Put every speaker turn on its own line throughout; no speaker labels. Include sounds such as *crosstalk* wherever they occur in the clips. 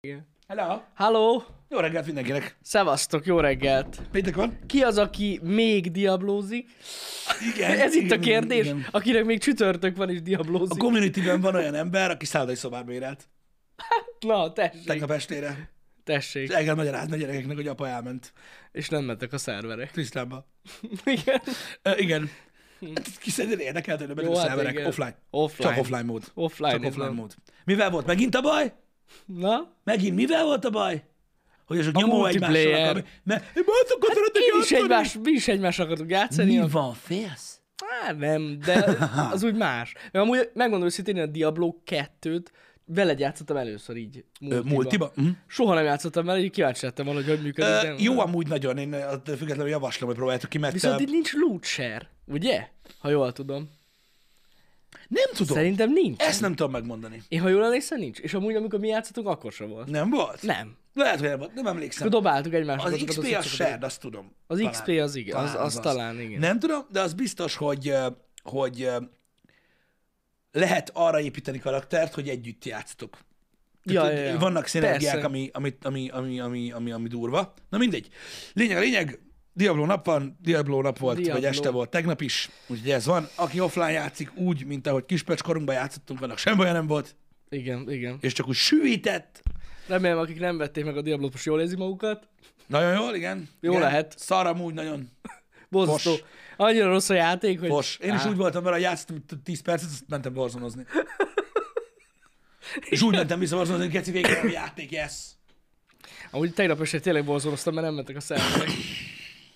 Igen.
Hello!
Halló!
Jó reggelt mindenkinek!
Szevasztok, jó reggelt!
Péntek van?
Ki az, aki még diablózik?
Igen.
Ez itt a
igen,
kérdés,
igen.
akinek még csütörtök van és
A
diablózik.
communityben van olyan ember, aki szállodai szobát bérelt
Na, tessék,
tegnap estére. És
tessék.
el kell magyarázni a gyerekeknek, hogy apa elment
És nem mentek a szerverek.
Krisztánba.
*laughs* Igen.
Ö, igen. Hát, Ki szerinted érdekelt, hogy nem mentek
Jó, hát
a szerverek?
igen.
offline.
Offline.
Csak offline mód.
Offline.
Csak offline
van.
mód. Mivel volt megint a baj?
Na?
Megint mivel volt a baj? Hogy azok nyomó egymással
multiplayer.
akar. Mert én már szokott szeretni
Mi is, egymás, mi is egymás akartunk játszani.
Mi van, félsz?
Hát nem, de az úgy más. Mert amúgy megmondom őszintén, én a Diablo 2-t veled játszottam először így.
Ö,
Multiba.
Multiba? Mhm.
Soha nem játszottam vele, így kíváncsi lettem volna, hogy hogy működik.
Ö,
de-
Jó amúgy nagyon, én ö, attól függetlenül javaslom, hogy próbáljátok ki, mert
Viszont
ö,
itt nincs loot share, ugye? Ha jól tudom.
nem tudom.
Szerintem nincs.
Ezt nem tudom megmondani.
Én ha jól emlékszem, nincs. És amúgy, amikor mi játszottunk, akkor sem volt.
Nem volt?
Nem.
Lehet, hogy nem volt, nem emlékszem.
Akkor dobáltuk egymásra.
Az
azokat
XP a
cuccokat.
shared, azt tudom.
Az
Talán.
XP az igen, az, az, talán igen.
Nem tudom, de az biztos, hogy, ö, hogy ö, lehet arra építeni karaktert, hogy együtt játsztok.
Ja,
Tehát,
ja,
ö,
ja.
Vannak szinergiák,
Persze.
ami, ami, ami, ami, ami, ami, ami, durva. Na mindegy. Lényeg, a lényeg, Diablo nap van, Diablo nap volt, Diablo.
Diablo.
vagy este volt tegnap is, úgyhogy ez van. Aki offline játszik úgy, mint ahogy kispec korunkban játszottunk, annak semmi olyan nem volt,
Igen, igen.
és csak úgy sűvített,
Remélem, akik nem vették meg a Diablo-t, most jól érzi magukat.
Nagyon jól, igen.
Jó
igen.
lehet.
Szar amúgy nagyon.
Borzasztó.
Fos.
Annyira rossz a játék, hogy...
Fos. Én is
Á,
úgy voltam vele, hogy játszottam t- 10 percet, azt mentem borzonozni. És úgy mentem vissza borzonozni, hogy geci végre a játék, yes.
Amúgy tegnap este tényleg borzoloztam, mert nem mentek a szerverek.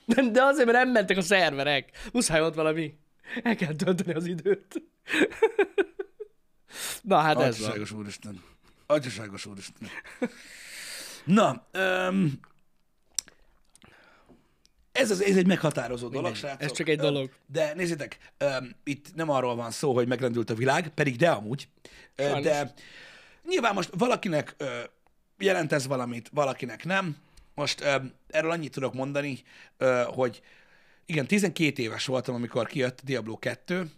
De, de azért, mert nem mentek a szerverek. Muszáj volt valami. El kell tölteni az időt. Na hát ez van.
Atyaságos úristen. Atyaságos úristen. Na, öm, ez, az, ez egy meghatározó dolog,
Mindegy,
srácok.
ez csak egy
Öm,
dolog.
De nézzétek, öm, itt nem arról van szó, hogy megrendült a világ, pedig de amúgy. Ö,
Sajnos.
De nyilván most valakinek ö, jelent ez valamit, valakinek nem. Most öm, erről annyit tudok mondani, ö, hogy igen, 12 éves voltam, amikor kijött Diablo 2,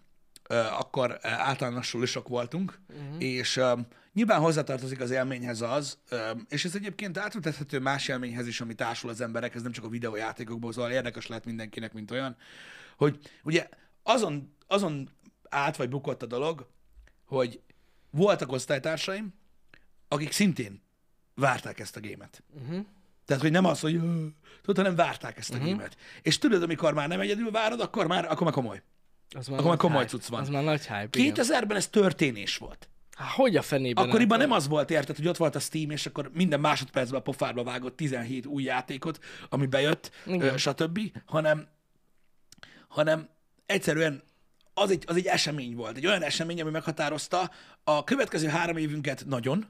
ö, akkor ö, általános sulisok voltunk, uh-huh. és öm, nyilván hozzátartozik az élményhez az, öm, és ez egyébként átültethető más élményhez is, ami társul az emberek, ez nem csak a videójátékokból, szóval érdekes lehet mindenkinek, mint olyan, hogy ugye azon, azon állt vagy bukott a dolog, hogy voltak osztálytársaim, akik szintén várták ezt a gémet.
Mhm.
Tehát, hogy nem az, hogy "Ö", tudod, hanem várták ezt a uh-huh. gémet. És tudod, amikor már nem egyedül várod, akkor már, akkor már komoly.
Az már
Akkor már
nagy
komoly
hype.
cucc van.
hát, Az már nagy hype, igen.
2000-ben ez történés volt.
Há, hogy a fenében?
Akkoriban
nem?
nem az volt, érted, hogy ott volt a Steam, és akkor minden másodpercben a pofádba vágott 17 új játékot, ami bejött, ö, stb., hanem, hanem egyszerűen az egy, az egy esemény volt, egy olyan esemény, ami meghatározta a következő három évünket nagyon,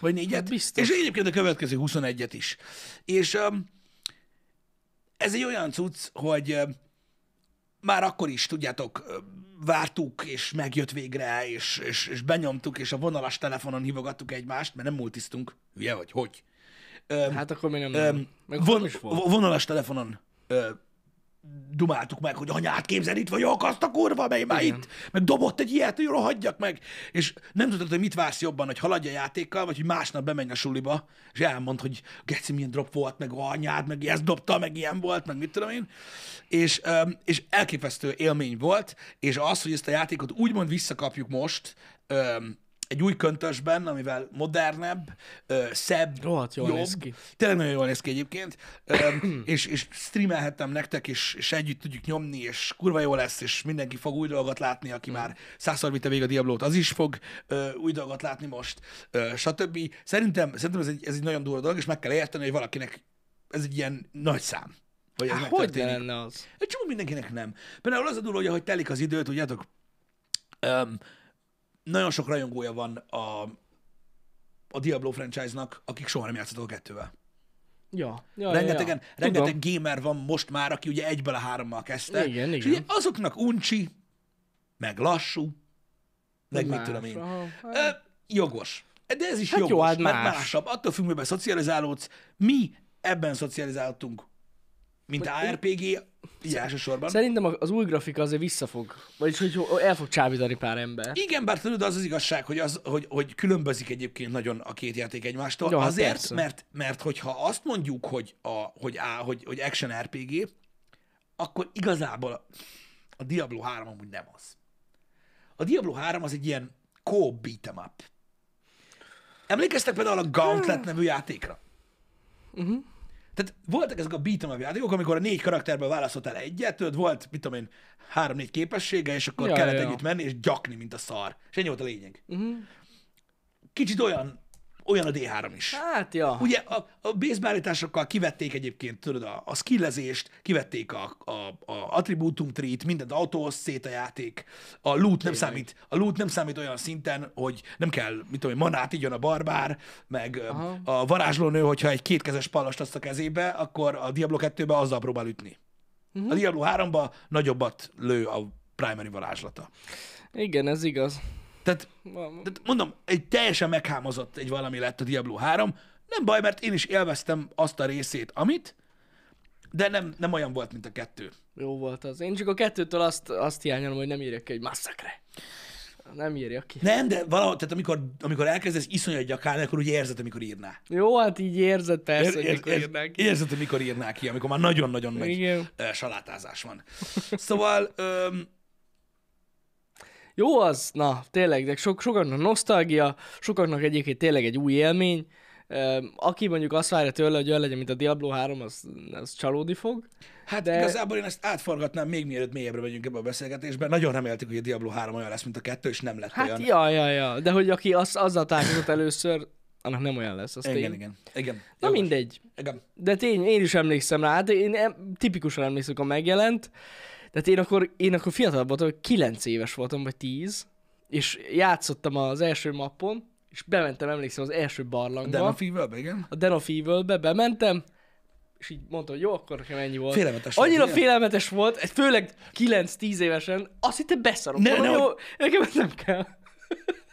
vagy négyet,
Hát biztos.
és egyébként a következő 21-et is. És öm, ez egy olyan cucc, hogy öm, már akkor is, tudjátok, ö, vártuk, és megjött végre, és, és, és benyomtuk, és a vonalas telefonon hívogattuk egymást, mert nem multisztunk. Hülye vagy, hogy?
Hát akkor még nem. nem. Meg
Von,
Von... is volt.
vo- vonalas telefonon ö, dumáltuk meg, hogy anyát képzel, itt vagyok, azt a kurva, mely már itt, meg dobott egy ilyet, hogy rohadjak meg, és nem tudtad, hogy mit vársz jobban, hogy haladj a játékkal, vagy hogy másnap bemenj a suliba, és elmond, hogy geci, milyen drop volt, meg anyád, meg ezt dobta, meg ilyen volt, meg mit tudom én, és, öm, és elképesztő élmény volt, és az, hogy ezt a játékot úgymond visszakapjuk most, öm, egy új köntösben, amivel modernebb, ö, szebb,
Rohadt jól néz ki.
Tényleg nagyon jól néz ki egyébként, Öm, *clears throat* és, és streamelhettem nektek, és, és együtt tudjuk nyomni, és kurva jó lesz, és mindenki fog új dolgot látni, aki már százszor vitte végig a Diablót, az is fog ö, új dolgot látni most, ö, stb. Szerintem, szerintem ez, egy, ez egy nagyon durva dolog, és meg kell érteni, hogy valakinek ez egy ilyen nagy szám. Hogy ez
Hát hogy ne
megtörténik.
lenne az?
Egy csomó mindenkinek nem. Például az a dolog, hogy ahogy telik az idő, tudjátok, öm, nagyon sok rajongója van a, a Diablo franchise-nak, akik soha nem játszottak a kettővel.
Ja. ja
Rengetegen,
ja, ja.
rengeteg
Tudom.
gamer van most már, aki ugye egyből a hárommal kezdte.
Igen,
és
igen.
ugye azoknak uncsi, meg lassú, meg mit
Más,
tudom én.
aha.
Ö, jogos. De ez is
Hát jó,
jogos,
hát
mert
más.
másabb. Attól függ, miben szocializálódsz. Mi ebben szocializáltunk Mint ARPG, így elsősorban.
Szerintem a- az új grafika azért visszafog. Vagyis, hogy el fog csábítani pár ember.
Igen, bár tudod, az az igazság, hogy, az, hogy, hogy különbözik egyébként nagyon a két játék egymástól.
Jó,
Ja,
hát
Azért,
persze.
mert, mert hogyha azt mondjuk, hogy, a, hogy, a, hogy, hogy action RPG, akkor igazából a, a Diablo 3 amúgy nem az. A Diablo 3 az egy ilyen co beat'em up. Emlékeztek például a Gauntlet nevű játékra? Uh-huh.
Mhm.
Tehát voltak ezek a beat'em up játékok, amikor a négy karakterből választottál egyet, tudod, volt, mit tudom én, három-négy képessége, és akkor
Ja,
kellett
ja. Mhm.
együtt menni, és gyakni, mint a szar. És ennyi volt a lényeg. Uh-huh. Kicsit olyan, olyan a D3 is.
Hát, ja.
Ugye a, a basebeállításokkal kivették egyébként, tudod, a, a skillezést, kivették a, a, a attribútum treat, mindent autóhoz szét a játék, a loot nem számít, a loot nem számít olyan szinten, hogy nem kell, mit tudom, én, manát igyon a barbár, meg ö, a varázslónő, hogyha egy kétkezes pallast azt a kezébe, akkor a Diablo 2-be azzal próbál ütni. A Diablo 3-ba nagyobbat lő a primary varázslata.
Igen, ez igaz.
Tehát, tehát mondom, egy teljesen meghámozott egy valami lett a Diablo 3. Nem baj, mert én is élveztem azt a részét, amit, de nem, nem olyan volt, mint a kettő.
Jó volt az. Én csak a kettőtől azt, azt hiányolom, hogy nem írja ki, hogy masszakre. Nem írja ki.
Nem, de valahogy, tehát amikor, amikor elkezdesz iszonyat gyakálni, akkor úgy érzed, amikor írná.
Jó, hát így érzed persze,
Ér,
hogy
ér,
mikor
ér,
írnák ki.
érzed, hogy mikor írná ki, amikor már nagyon-nagyon nagy
Igen.
ö, salátázás van. Szóval, öm,
Jó az, na, tényleg, de sok, sokaknak nosztalgia, sokaknak egyébként tényleg egy új élmény. Ö, Aki mondjuk azt várja tőle, hogy olyan legyen, mint a Diablo 3, az, az csalódni fog.
Hát de...
De-
igazából én ezt átforgatnám még mielőtt mélyebbre megyünk ebbe a beszélgetésbe. Nagyon reméltük, hogy a Diablo 3 olyan lesz, mint a kettő, és nem lett
Hát
olyan.
ja, ja, ja, de hogy aki az, azzal találkozott először, annak nem olyan lesz, az
igen,
tény.
igen, igen.
Na
Jogos.
mindegy.
Igen.
De tény, én is emlékszem rá, hát én em- tipikusan emlékszem, amikor megjelent. Tehát én akkor, én akkor fiatalabb voltam, hogy 9 éves voltam, vagy 10, és játszottam az első mappon, és bementem, emlékszem, az első barlangba.
De a Fever, igen.
a Den of Evil-be bementem, és így mondta, hogy jó, akkor nekem ennyi volt.
Félelmetes
Annyira
volt,
volt,
ugye?
félelmetes volt, egy- főleg 9-10 évesen, azt hittem beszarok.
Ne,
Ne, ne,
ne,
jó, nekem ez nem kell.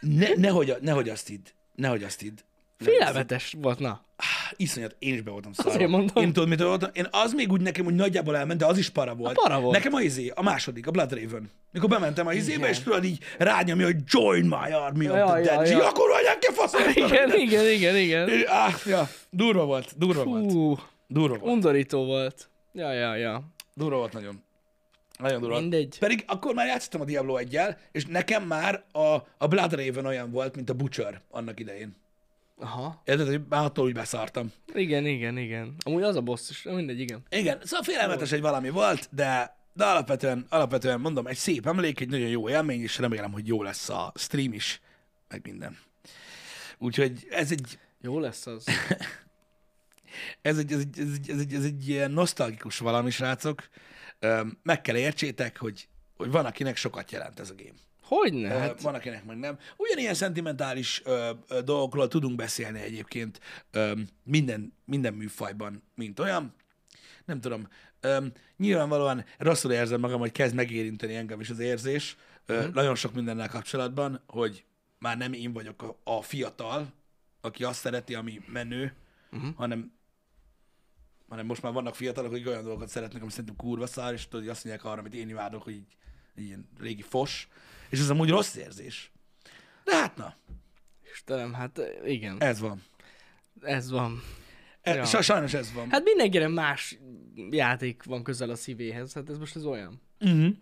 Ne, nehogy, nehogy azt hidd. Nehogy azt hidd. Nehogy azt hidd.
Félelmetes volt, na.
Iszonyat, én is be voltam szarva.
Azért mondom.
Én tudod, mit voltam? Én az még úgy nekem úgy nagyjából elment, de az is para volt.
A para volt.
Nekem a izé, a második, a Blood Raven. Mikor bementem a izébe, és tudod így rányomja, hogy join my army of
Ja,
the
ja,
dead. És így,
ja.
akkor vagyok ki faszom.
Igen, igen, igen, igen.
Ah, ja, durva volt, durva volt.
Hú,
Durva volt,
undorító volt. Ja, ja, ja.
durva volt nagyon. Nagyon durva. volt.
Mindegy.
Pedig akkor már játszottam a Diablo 1 és nekem már a, a Blood Raven olyan volt, mint a Butcher annak idején.
Aha.
Érted, hogy már attól úgy beszartam.
Igen, igen, igen. Amúgy az a boss is, mindegy, igen.
Igen, szóval félelmetes, hogy valami volt, de, de alapvetően, alapvetően mondom, egy szép emlék, egy nagyon jó élmény, és remélem, hogy jó lesz a stream is, meg minden. Úgyhogy ez egy,
Jó lesz
*laughs*
az.
ez egy, ez egy, ez egy, ez egy, ez egy ilyen nosztalgikus valami, srácok. Öm, Meg kell értsétek, hogy, hogy van, akinek sokat jelent ez a game.
Hogyne?
Hát...
Hát,
Van, akinek meg nem. Ugyanilyen szentimentális ö, ö, dolgokról tudunk beszélni egyébként ö, minden, minden műfajban, mint olyan. Nem tudom. Ö, nyilvánvalóan rosszul érzem magam, hogy kezd megérinteni engem is az érzés. Ö, Nagyon sok mindennel kapcsolatban, hogy már nem én vagyok a, a fiatal, aki azt szereti, ami menő, hanem hanem most már vannak fiatalok, akik olyan dolgokat szeretnek, ami szerintem kurva szár, és tudod, hogy azt mondják arra, amit én imádok, hogy így, így ilyen régi fos, és ez amúgy rossz érzés. De hát na,
Istenem, hát igen.
ez van.
Ez van.
E,
Ja.
ja. Sajnos ez van. Hát,
Hát mindenkire más játék van közel a szívéhez, hát ez most ez olyan.
uh-huh.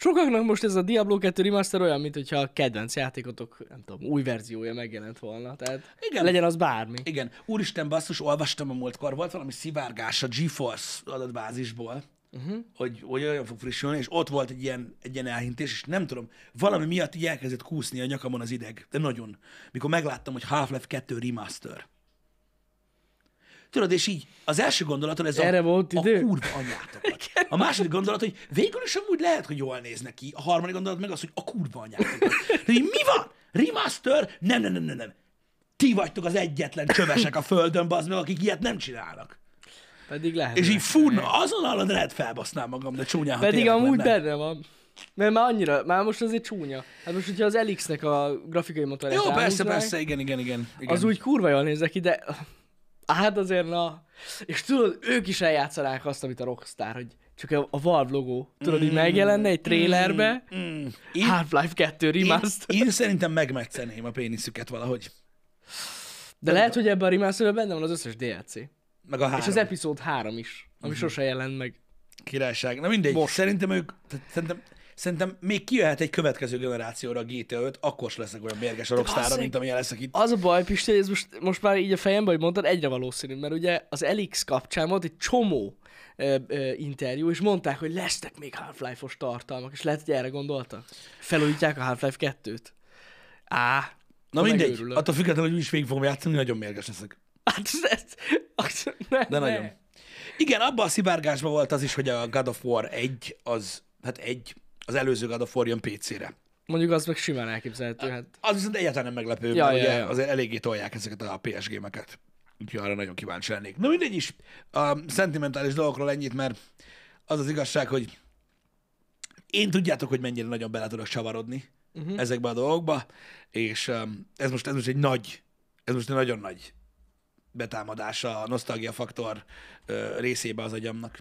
Sokaknak most ez a Diablo 2 remaster olyan, mint hogyha a kedvenc játékotok, nem tudom, új verziója megjelent volna. Tehát
Igen.
Igen. legyen az bármi.
Igen, úristen basszus, olvastam a múltkor, volt valami szivárgás a GeForce adatbázisból, uh-huh. hogy, hogy olyan fog frissülni, és ott volt egy ilyen, egy ilyen elhintés, és nem tudom, valami miatt így elkezdett kúszni a nyakamon az ideg, de nagyon. Mikor megláttam, hogy Half-Life 2 remaster. Tudod, és így az első gondolatod ez
Erre
a,
volt
a
idő?
kurva
*laughs*
anyátokat. A második gondolat, hogy végül is amúgy lehet, hogy jól néz neki. A harmadik gondolat meg az, hogy a kurva anyátokat. De így mi van? Remaster? Nem, nem, nem, nem, nem. Ti vagytok az egyetlen csövesek a földön, az meg, akik ilyet nem csinálnak.
Pedig lehet.
És így furna, azonnal a lehet felbasznám magam, de csúnyán, ha
Pedig
tényleg
amúgy
lenne.
benne van. Mert már annyira, már most azért csúnya. Hát most, hogyha az Elix-nek a grafikai motorját
Jó, persze,
ráhúznák,
persze, igen, igen, igen. igen.
az úgy kurva jól néz ki, de Hát azért na. És tudod, ők is eljátszanák azt, amit a Rockstar, hogy csak a, a Valve logó, tudod, így megjelenne egy trailerbe,
Mm. Én,
Half-Life 2
én,
remaster.
én szerintem megmetszeném a péniszüket valahogy.
De lehet, hogy ebben a remasterben benne van az összes DLC.
Meg a három.
És az epizód 3 is, ami sose jelent meg.
Királyság. Na mindegy, Most.
Most.
szerintem ők, tehát szerintem, szerintem még kijöhet egy következő generációra a GTA 5, akkor sem leszek olyan mérges a rockstar
basszeg.
mint amilyen leszek itt.
Az a baj, Pisti, hogy ez most, most már így a fejemben, hogy mondtad, egyre valószínűbb, mert ugye az Elix kapcsán volt egy csomó ö, ö, interjú, és mondták, hogy lesznek még Half-Life-os tartalmak, és lehet, hogy erre gondoltak. Felújítják a Half-Life 2-t. Á,
Na
akkor
mindegy,
megőrülök.
attól függetlenül, hogy is végig fogom játszani, nagyon mérges leszek.
Hát ez, ez, az, ne,
De
ne.
nagyon. Igen, abban a szivárgásban volt az is, hogy a God of War 1, az, hát egy, az előző God of War jön PC-re.
Mondjuk az meg simán elképzelhető, hát.
Az viszont egyáltalán nem meglepő,
Ja,
mert
ja,
ugye
ja.
azért eléggé tolják ezeket a PS gémeket. Úgyhogy arra nagyon kíváncsi lennék. Na mindegy is, a szentimentális dolgokról ennyit, mert az az igazság, hogy én tudjátok, hogy mennyire nagyon bele tudok csavarodni
Mhm.
uh-huh. ezekbe a dolgokba, és um, ez, most, ez most egy nagy, ez most egy nagyon nagy betámadása a nosztalgia faktor ö, részébe az agyamnak.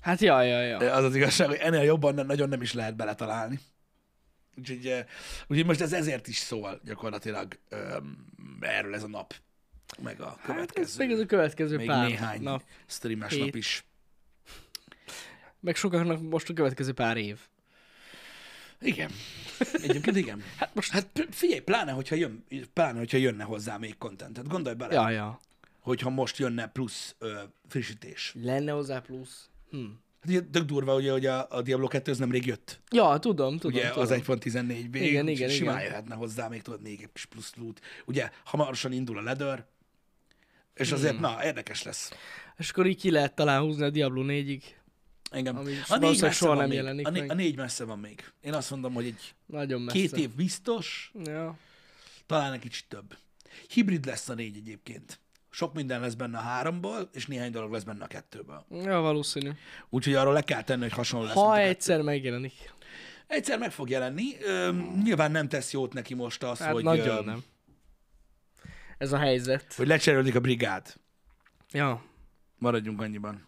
Hát jaj, jaj, jaj.
Az az igazság, hogy ennél jobban nem, nagyon nem is lehet beletalálni. Úgyhogy, eh, úgyhogy most ez ezért is szól gyakorlatilag öm, erről ez a nap, meg a
Hát ez
következő,
még ez a következő
még
pár
néhány
nap.
nap. streames
hét.
nap is.
Meg sokaknak most a következő pár év. *laughs*
Igen. Egyébként igen.
Hát most...
Hát p- figyelj, pláne, hogyha, jön, pláne, hogyha jönne hozzá még content. Hát gondolj bele, ja.
Ja, ja.
hogyha most jönne plusz ö, frissítés.
Lenne hozzá plusz. Hm.
Hát ugye tök durva, ugye, hogy a, a Diablo 2 az nemrég jött.
Ja, tudom, tudom.
Ugye
tudom.
az 1.14b,
Igen,
úgyhogy
igen,
simán
igen.
jöhetne hozzá még tudod még egy kis plusz loot. Ugye hamarosan indul a ledör, és azért, hmm. na, érdekes lesz.
És akkor így ki lehet talán húzni a Diablo 4-ig.
Engem.
Ami valószínűleg
A négy messze
soha
van
nem
még.
jelenik
a, né-
meg.
a négy messze van még. Én azt mondom, hogy egy
Nagyon messze.
két év biztos,
Ja.
talán egy kicsit több. Hibrid lesz a négy egyébként. Sok minden lesz benne a háromból, és néhány dolog lesz benne a kettőből.
ja, valószínű.
Úgyhogy arról le kell tenni, hogy hasonló lesz. mint a
Ha
kettő.
egyszer megjelenik.
Egyszer meg fog jelenni. Öm, nyilván nem tesz jót neki most az,
Hát
hogy,
nagyon
öm,
nem. Ez a helyzet.
hogy lecserélődik a brigád.
Ja.
Maradjunk annyiban.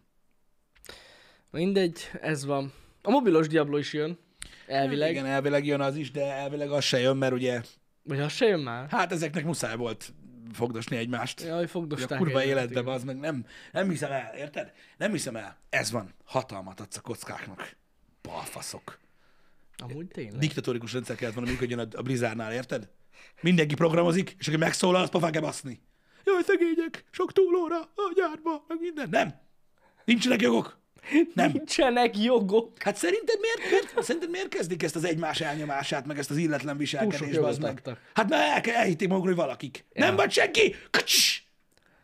Mindegy, ez van. A mobilos Diablo is jön. Elvileg.
Igen, elvileg jön az is, de elvileg az se jön, mert ugye,
Vagy az se jön már?
hát ezeknek muszáj volt fogdosni egymást.
Jaj,
Ugye
fogdosták.
a kurva
egymást,
életben
igen.
az meg nem, nem hiszem el, érted? Nem hiszem el. Ez van. Hatalmat adsz a kockáknak. Balfaszok.
Amúgy tényleg.
Diktatórikus rendszer kellett volna működjön a, a Blizzardnál, érted? Mindenki programozik, és aki megszólal, azt pofán kell baszni. Jaj, szegények, sok túlóra, a gyárba, meg minden. Nem. Nincsenek jogok. Nem.
Nincsenek jogok.
Hát szerinted miért, miért, szerinted miért kezdik ezt az egymás elnyomását, meg ezt az illetlen
Túl
viselkedést,
sok
az
jogot
meg?
adtak.
Hát már el, elhitték magukról, hogy valakik. Ja. Nem vagy senki! Kacsis!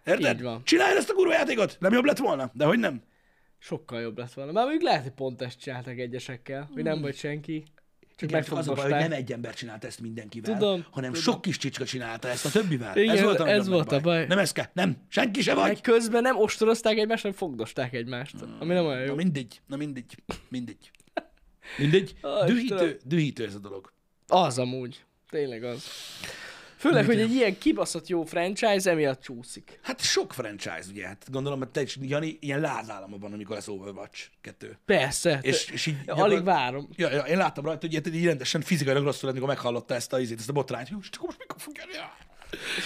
Érted?
Így van.
Csinálj ezt a kurva játékot! Nem jobb lett volna? De hogy nem?
Sokkal jobb lett volna. Már mondjuk lehet, hogy pont ezt csináltak egyesekkel, hogy nem vagy senki. Csak
Hmm. Igen, csak az a baj, hogy
megfogdosták.
nem egy ember csinálta ezt mindenkivel,
Tudom,
hanem
tudom.
sok kis csicska csinálta ezt a többivel.
Igen,
ez volt, a,
ez
nagyon
volt
nagy
a baj.
Nem ez kell, nem. Senki se
Meg
vagy.
közben nem ostorozták egymást, hanem fogdosták egymást.
Hmm.
Ami nem olyan
Na
jó.
mindegy, na mindegy, mindegy. Mindegy.
Ó,
Dühítő,
Istenem.
dühítő ez a dolog.
Az amúgy. Tényleg az. Főleg, hogy egy ilyen kibaszott jó franchise emiatt csúszik.
Hát sok franchise, ugye? Hát gondolom, hogy te is, Jani, ilyen lázállama van, amikor lesz Overwatch 2.
Persze. hát
És,
te-
és így,
alig várom.
Ja, ja, én láttam rajta, hogy ilyet- így rendesen fizikailag rosszul lett, mikor meghallotta ezt a, ízét, ezt a botrányt. Jó, és akkor most mikor fog jönni?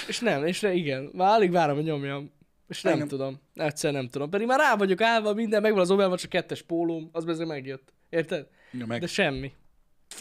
És nem, és ne, igen. Már alig várom, hogy nyomjam. És nem,
Igen.
tudom. Egyszer nem tudom. Pedig már rá vagyok állva, minden megvan az Overwatch a kettes pólóm, az bezeg megjött. Érted?
Ja, meg
De semmi.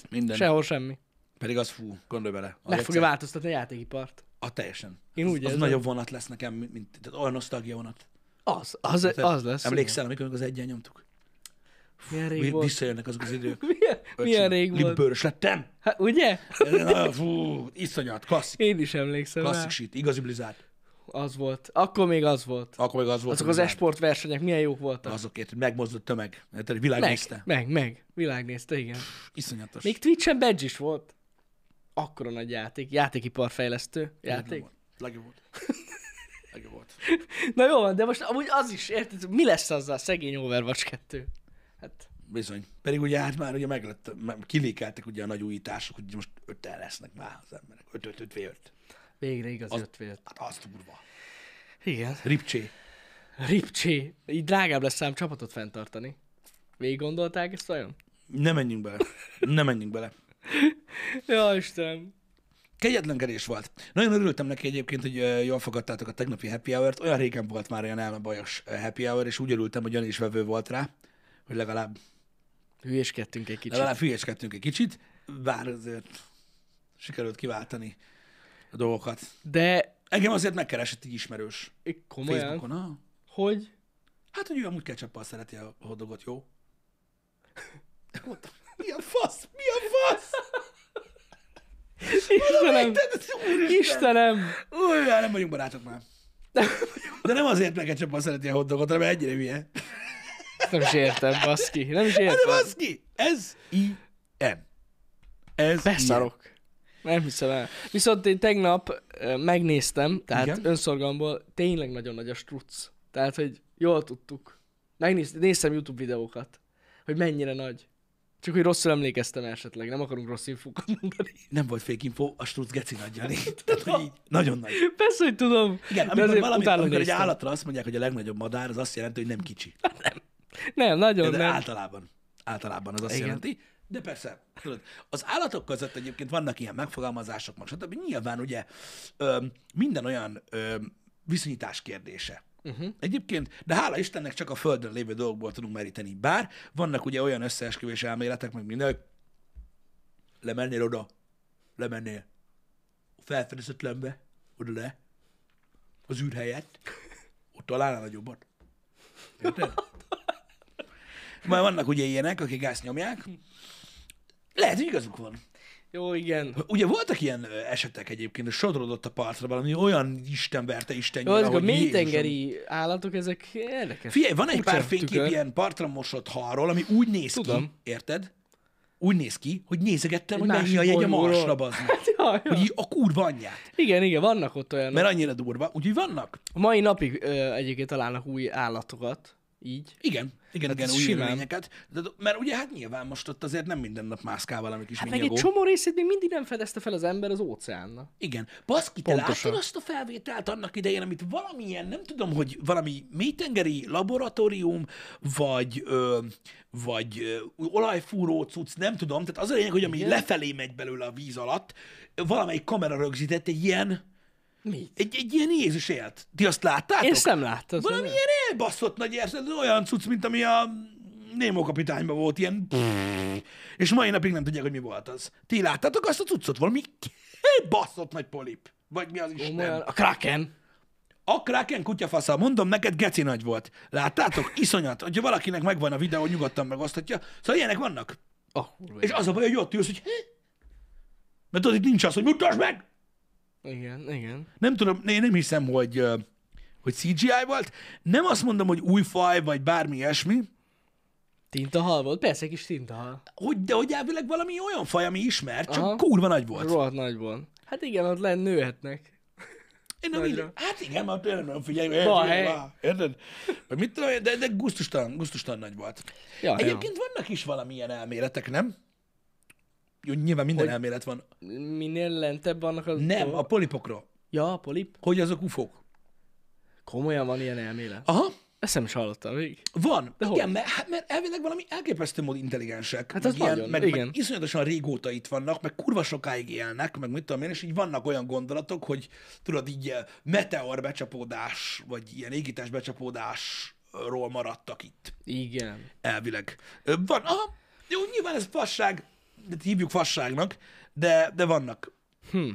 minden. Sem.
Sehol semmi.
Pedig az fú, gondolj bele. Az
Meg fogja
egyszer-
változtatni a játékipart.
A teljesen.
Én
az,
úgy
az
érzem.
nagyobb vonat lesz nekem, mint, mint tehát olyan nosztalgia vonat.
Az, az, az lesz.
Hát, Emlékszel, amikor az egyen nyomtuk?
igen. Milyen rég
Mi,
volt.
visszajönnek azok az
*laughs*
idők.
Milyen, milyen
Öcsém,
rég volt.
Limbőrös lettem.
Hát, ugye? *laughs*
Na, Fú, iszonyat, klasszik,
Én is emlékszem rá.
klasszik shit, igazi blizzard.
Az volt. Akkor még az volt.
Akkor meg az volt.
Azok
a
az
Blizzard.
esport versenyek milyen jók voltak.
Azokért, hogy megmozdult tömeg. Tehát a világ
meg,
nézte.
meg, meg. Világ nézte, igen.
Iszonyatos.
Még Twitch-en badge is volt. Akkora nagy játék. Játékiparfejlesztő játék.
Legjobb volt. *laughs* Legjobb volt.
Na jó, van, de most amúgy az is, érted? Mi lesz azzal szegény Overwatch 2? Hát,
Bizony. Pedig ugye hát már ugye meglett, m- kilékeltek ugye a nagy újítások, hogy most öttel lesznek már az emberek. 5 5 5 5
végre igaz
Az-
öt vélt.
Hát az durva.
Igen.
Ripcsé.
Ripcsé. Így drágább lesz szám csapatot fenntartani. Végig gondolták ezt vajon?
Ne menjünk bele. Ne menjünk bele.
Ja, Istenem.
Kegyetlenkedés volt. Nagyon örültem neki egyébként, hogy ö, jól fogadtátok a tegnapi happy hour-t. Olyan régen volt már olyan elmebajos ö, happy hour, és úgy örültem, hogy olyan is vevő volt rá, hogy legalább,
Hülyéskedtünk egy kicsit.
legalább hülyeskedtünk egy kicsit, bár azért sikerült kiváltani a dolgokat.
De
Engem azért megkeresett egy ismerős
komolyan,
Facebookon. Ah,
hogy
hát, hogy ő amúgy ketchup szereti a hoddogot, jó? Mondtam, mi a fasz? Mi a
*laughs*
fasz?
Istenem,
Isten!
Istenem,
Új, hát nem vagyunk barátok már. De nem azért meg csak szereti a hotdogot, hanem ennyire hülye.
Ezt nem is értem, baszki, nem is
Hát
értem.
nem az ki! Ez ilyen. Ez
Beszarok. Nem hiszem el. Viszont én tegnap ö, megnéztem, tehát
Igen?
Igen? önszorgalomból tényleg nagyon nagy a struc. Tehát, hogy jól tudtuk. Megnéztem, néztem YouTube videókat, hogy mennyire nagy. Csak, hogy rosszul emlékeztem esetleg, nem akarunk rossz infókat mondani. *laughs*
ilyen. Nem volt fake info, a struc geci nagyja Tehát, hogy így nagyon nagy.
Persze, hogy tudom.
Igen,
de
amikor,
azért
valami,
utána
amikor egy
néztem.
állatra azt mondják, hogy a legnagyobb madár, az azt jelenti, hogy nem kicsi.
Nem, nagyon
De
nem.
általában. Általában az azt
Igen.
jelenti. De persze, tudod, az állatok között egyébként vannak ilyen megfogalmazások, meg stb. Nyilván ugye ö, minden olyan ö, viszonyítás kérdése.
Mhm.
Uh-huh. Egyébként, de hála Istennek csak a Földön lévő dolgokból tudunk meríteni. Bár vannak ugye olyan összeesküvés elméletek, meg minden, hogy lemennél oda, lemennél a felfedezetlenbe, oda le, az űr helyett, ott találnál nagyobbat. Érted? Már vannak ugye ilyenek, akik gázt nyomják. Lehet, hogy igazuk van.
Jó, igen.
Ugye voltak ilyen ö, esetek egyébként, hogy sodrodott a partra valami olyan Isten verte Isten
Jó, ezek a
hogy
mélytengeri állatok, ezek érdekes. *laughs*
Figyelj, van egy pár
Furcsa
fénykép
tükör.
ilyen partra mosott halról, ami úgy néz ki,
Tudom.
érted? Úgy néz ki, hogy nézegettem, hogy mennyi
másik
a jegy a
bolygóról. Hát *laughs*
marsra, bazd meg.
Jaj,
Hogy
jaj.
így a kurva anyját.
Igen, igen, vannak ott olyanok.
Mert annyira durva. Úgyhogy vannak.
A mai napig ö, egyébként találnak új állatokat, így.
Igen, igen, igen,
Hát ez
új
simán.
élményeket. De, mert ugye hát nyilván most ott azért nem minden nap mászkál valami kis
Hát meg egy
minyagó.
csomó részét még mindig nem fedezte fel az ember az óceánnak.
Igen. Baszki, te
Pontosan.
láttad azt a felvételt annak idején, amit valamilyen, nem tudom, hogy valami mélytengeri laboratórium, vagy, ö, vagy ö, olajfúró cucc, nem tudom. Tehát az a lényeg, hogy ami Igen. lefelé megy belőle a víz alatt, valamelyik kamera rögzített egy ilyen,
Mit?
egy, egy ilyen Jézus élt. Ti azt láttátok?
Én ezt nem láttam.
Valami
szóval-
ilyen elbaszott nagy érzed, olyan cucc, mint ami a Némó kapitányban volt, ilyen és mai napig nem tudják, hogy mi volt az. Ti láttátok azt a cuccot? Valami baszott nagy polip. Vagy mi az
Komolyan.
Isten?
A Kraken.
A Kraken kutyafasza, mondom neked, geci nagy volt. Láttátok? Iszonyat. Hogyha valakinek megvan a videó, nyugodtan megosztatja. Szóval ilyenek vannak.
Ah, kurva.
És az a baj, hogy ott ülsz, hogy hé? Mert tudod, itt nincs az, hogy mutasd meg!
Igen, igen.
Nem tudom, én nem hiszem, hogy, ö, hogy CGI volt. Nem azt mondom, hogy új faj, vagy bármi ilyesmi,
Tintahal volt? Persze, egy kis tintahal.
hogy, de hogy elvileg valami olyan faj, ami ismert, csak Aha.
Aha.
kurva nagy volt.
Rohadt nagyban. Hát igen, ott lenn nőhetnek.
Én nem így,
Nagyra.
hát igen, már tényleg nem figyelj,
Bal
érted?
hely.
Lá, érted? Vagy mit tudom, én, de, de gusztustalan, gusztustalan nagy volt.
Ja,
Egyébként vannak is valamilyen elméletek, nem? Jó, nyilván minden hogy... elmélet van.
ja. Minél lentebb vannak az...
Nem, a polipokról.
Ja, a polip.
Hogy azok ufók.
Komolyan van ilyen elmélet.
Aha,
Ezt nem is hallottam még.
van. De igen,
hogy?
mert, hát, mert elvileg valami elképesztő mód intelligensek.
Hát
meg
az nagyon,
meg,
igen.
meg iszonyatosan régóta itt vannak, meg kurva sokáig élnek, meg mit tudom én, és így vannak olyan gondolatok, hogy tudod, így eh, meteor becsapódás, vagy ilyen égítés becsapódásról maradtak itt
Igen.
elvileg. Ö, Van, aha, jó, nyilván ez fasság, de hívjuk fasságnak, de, de vannak.
Hm.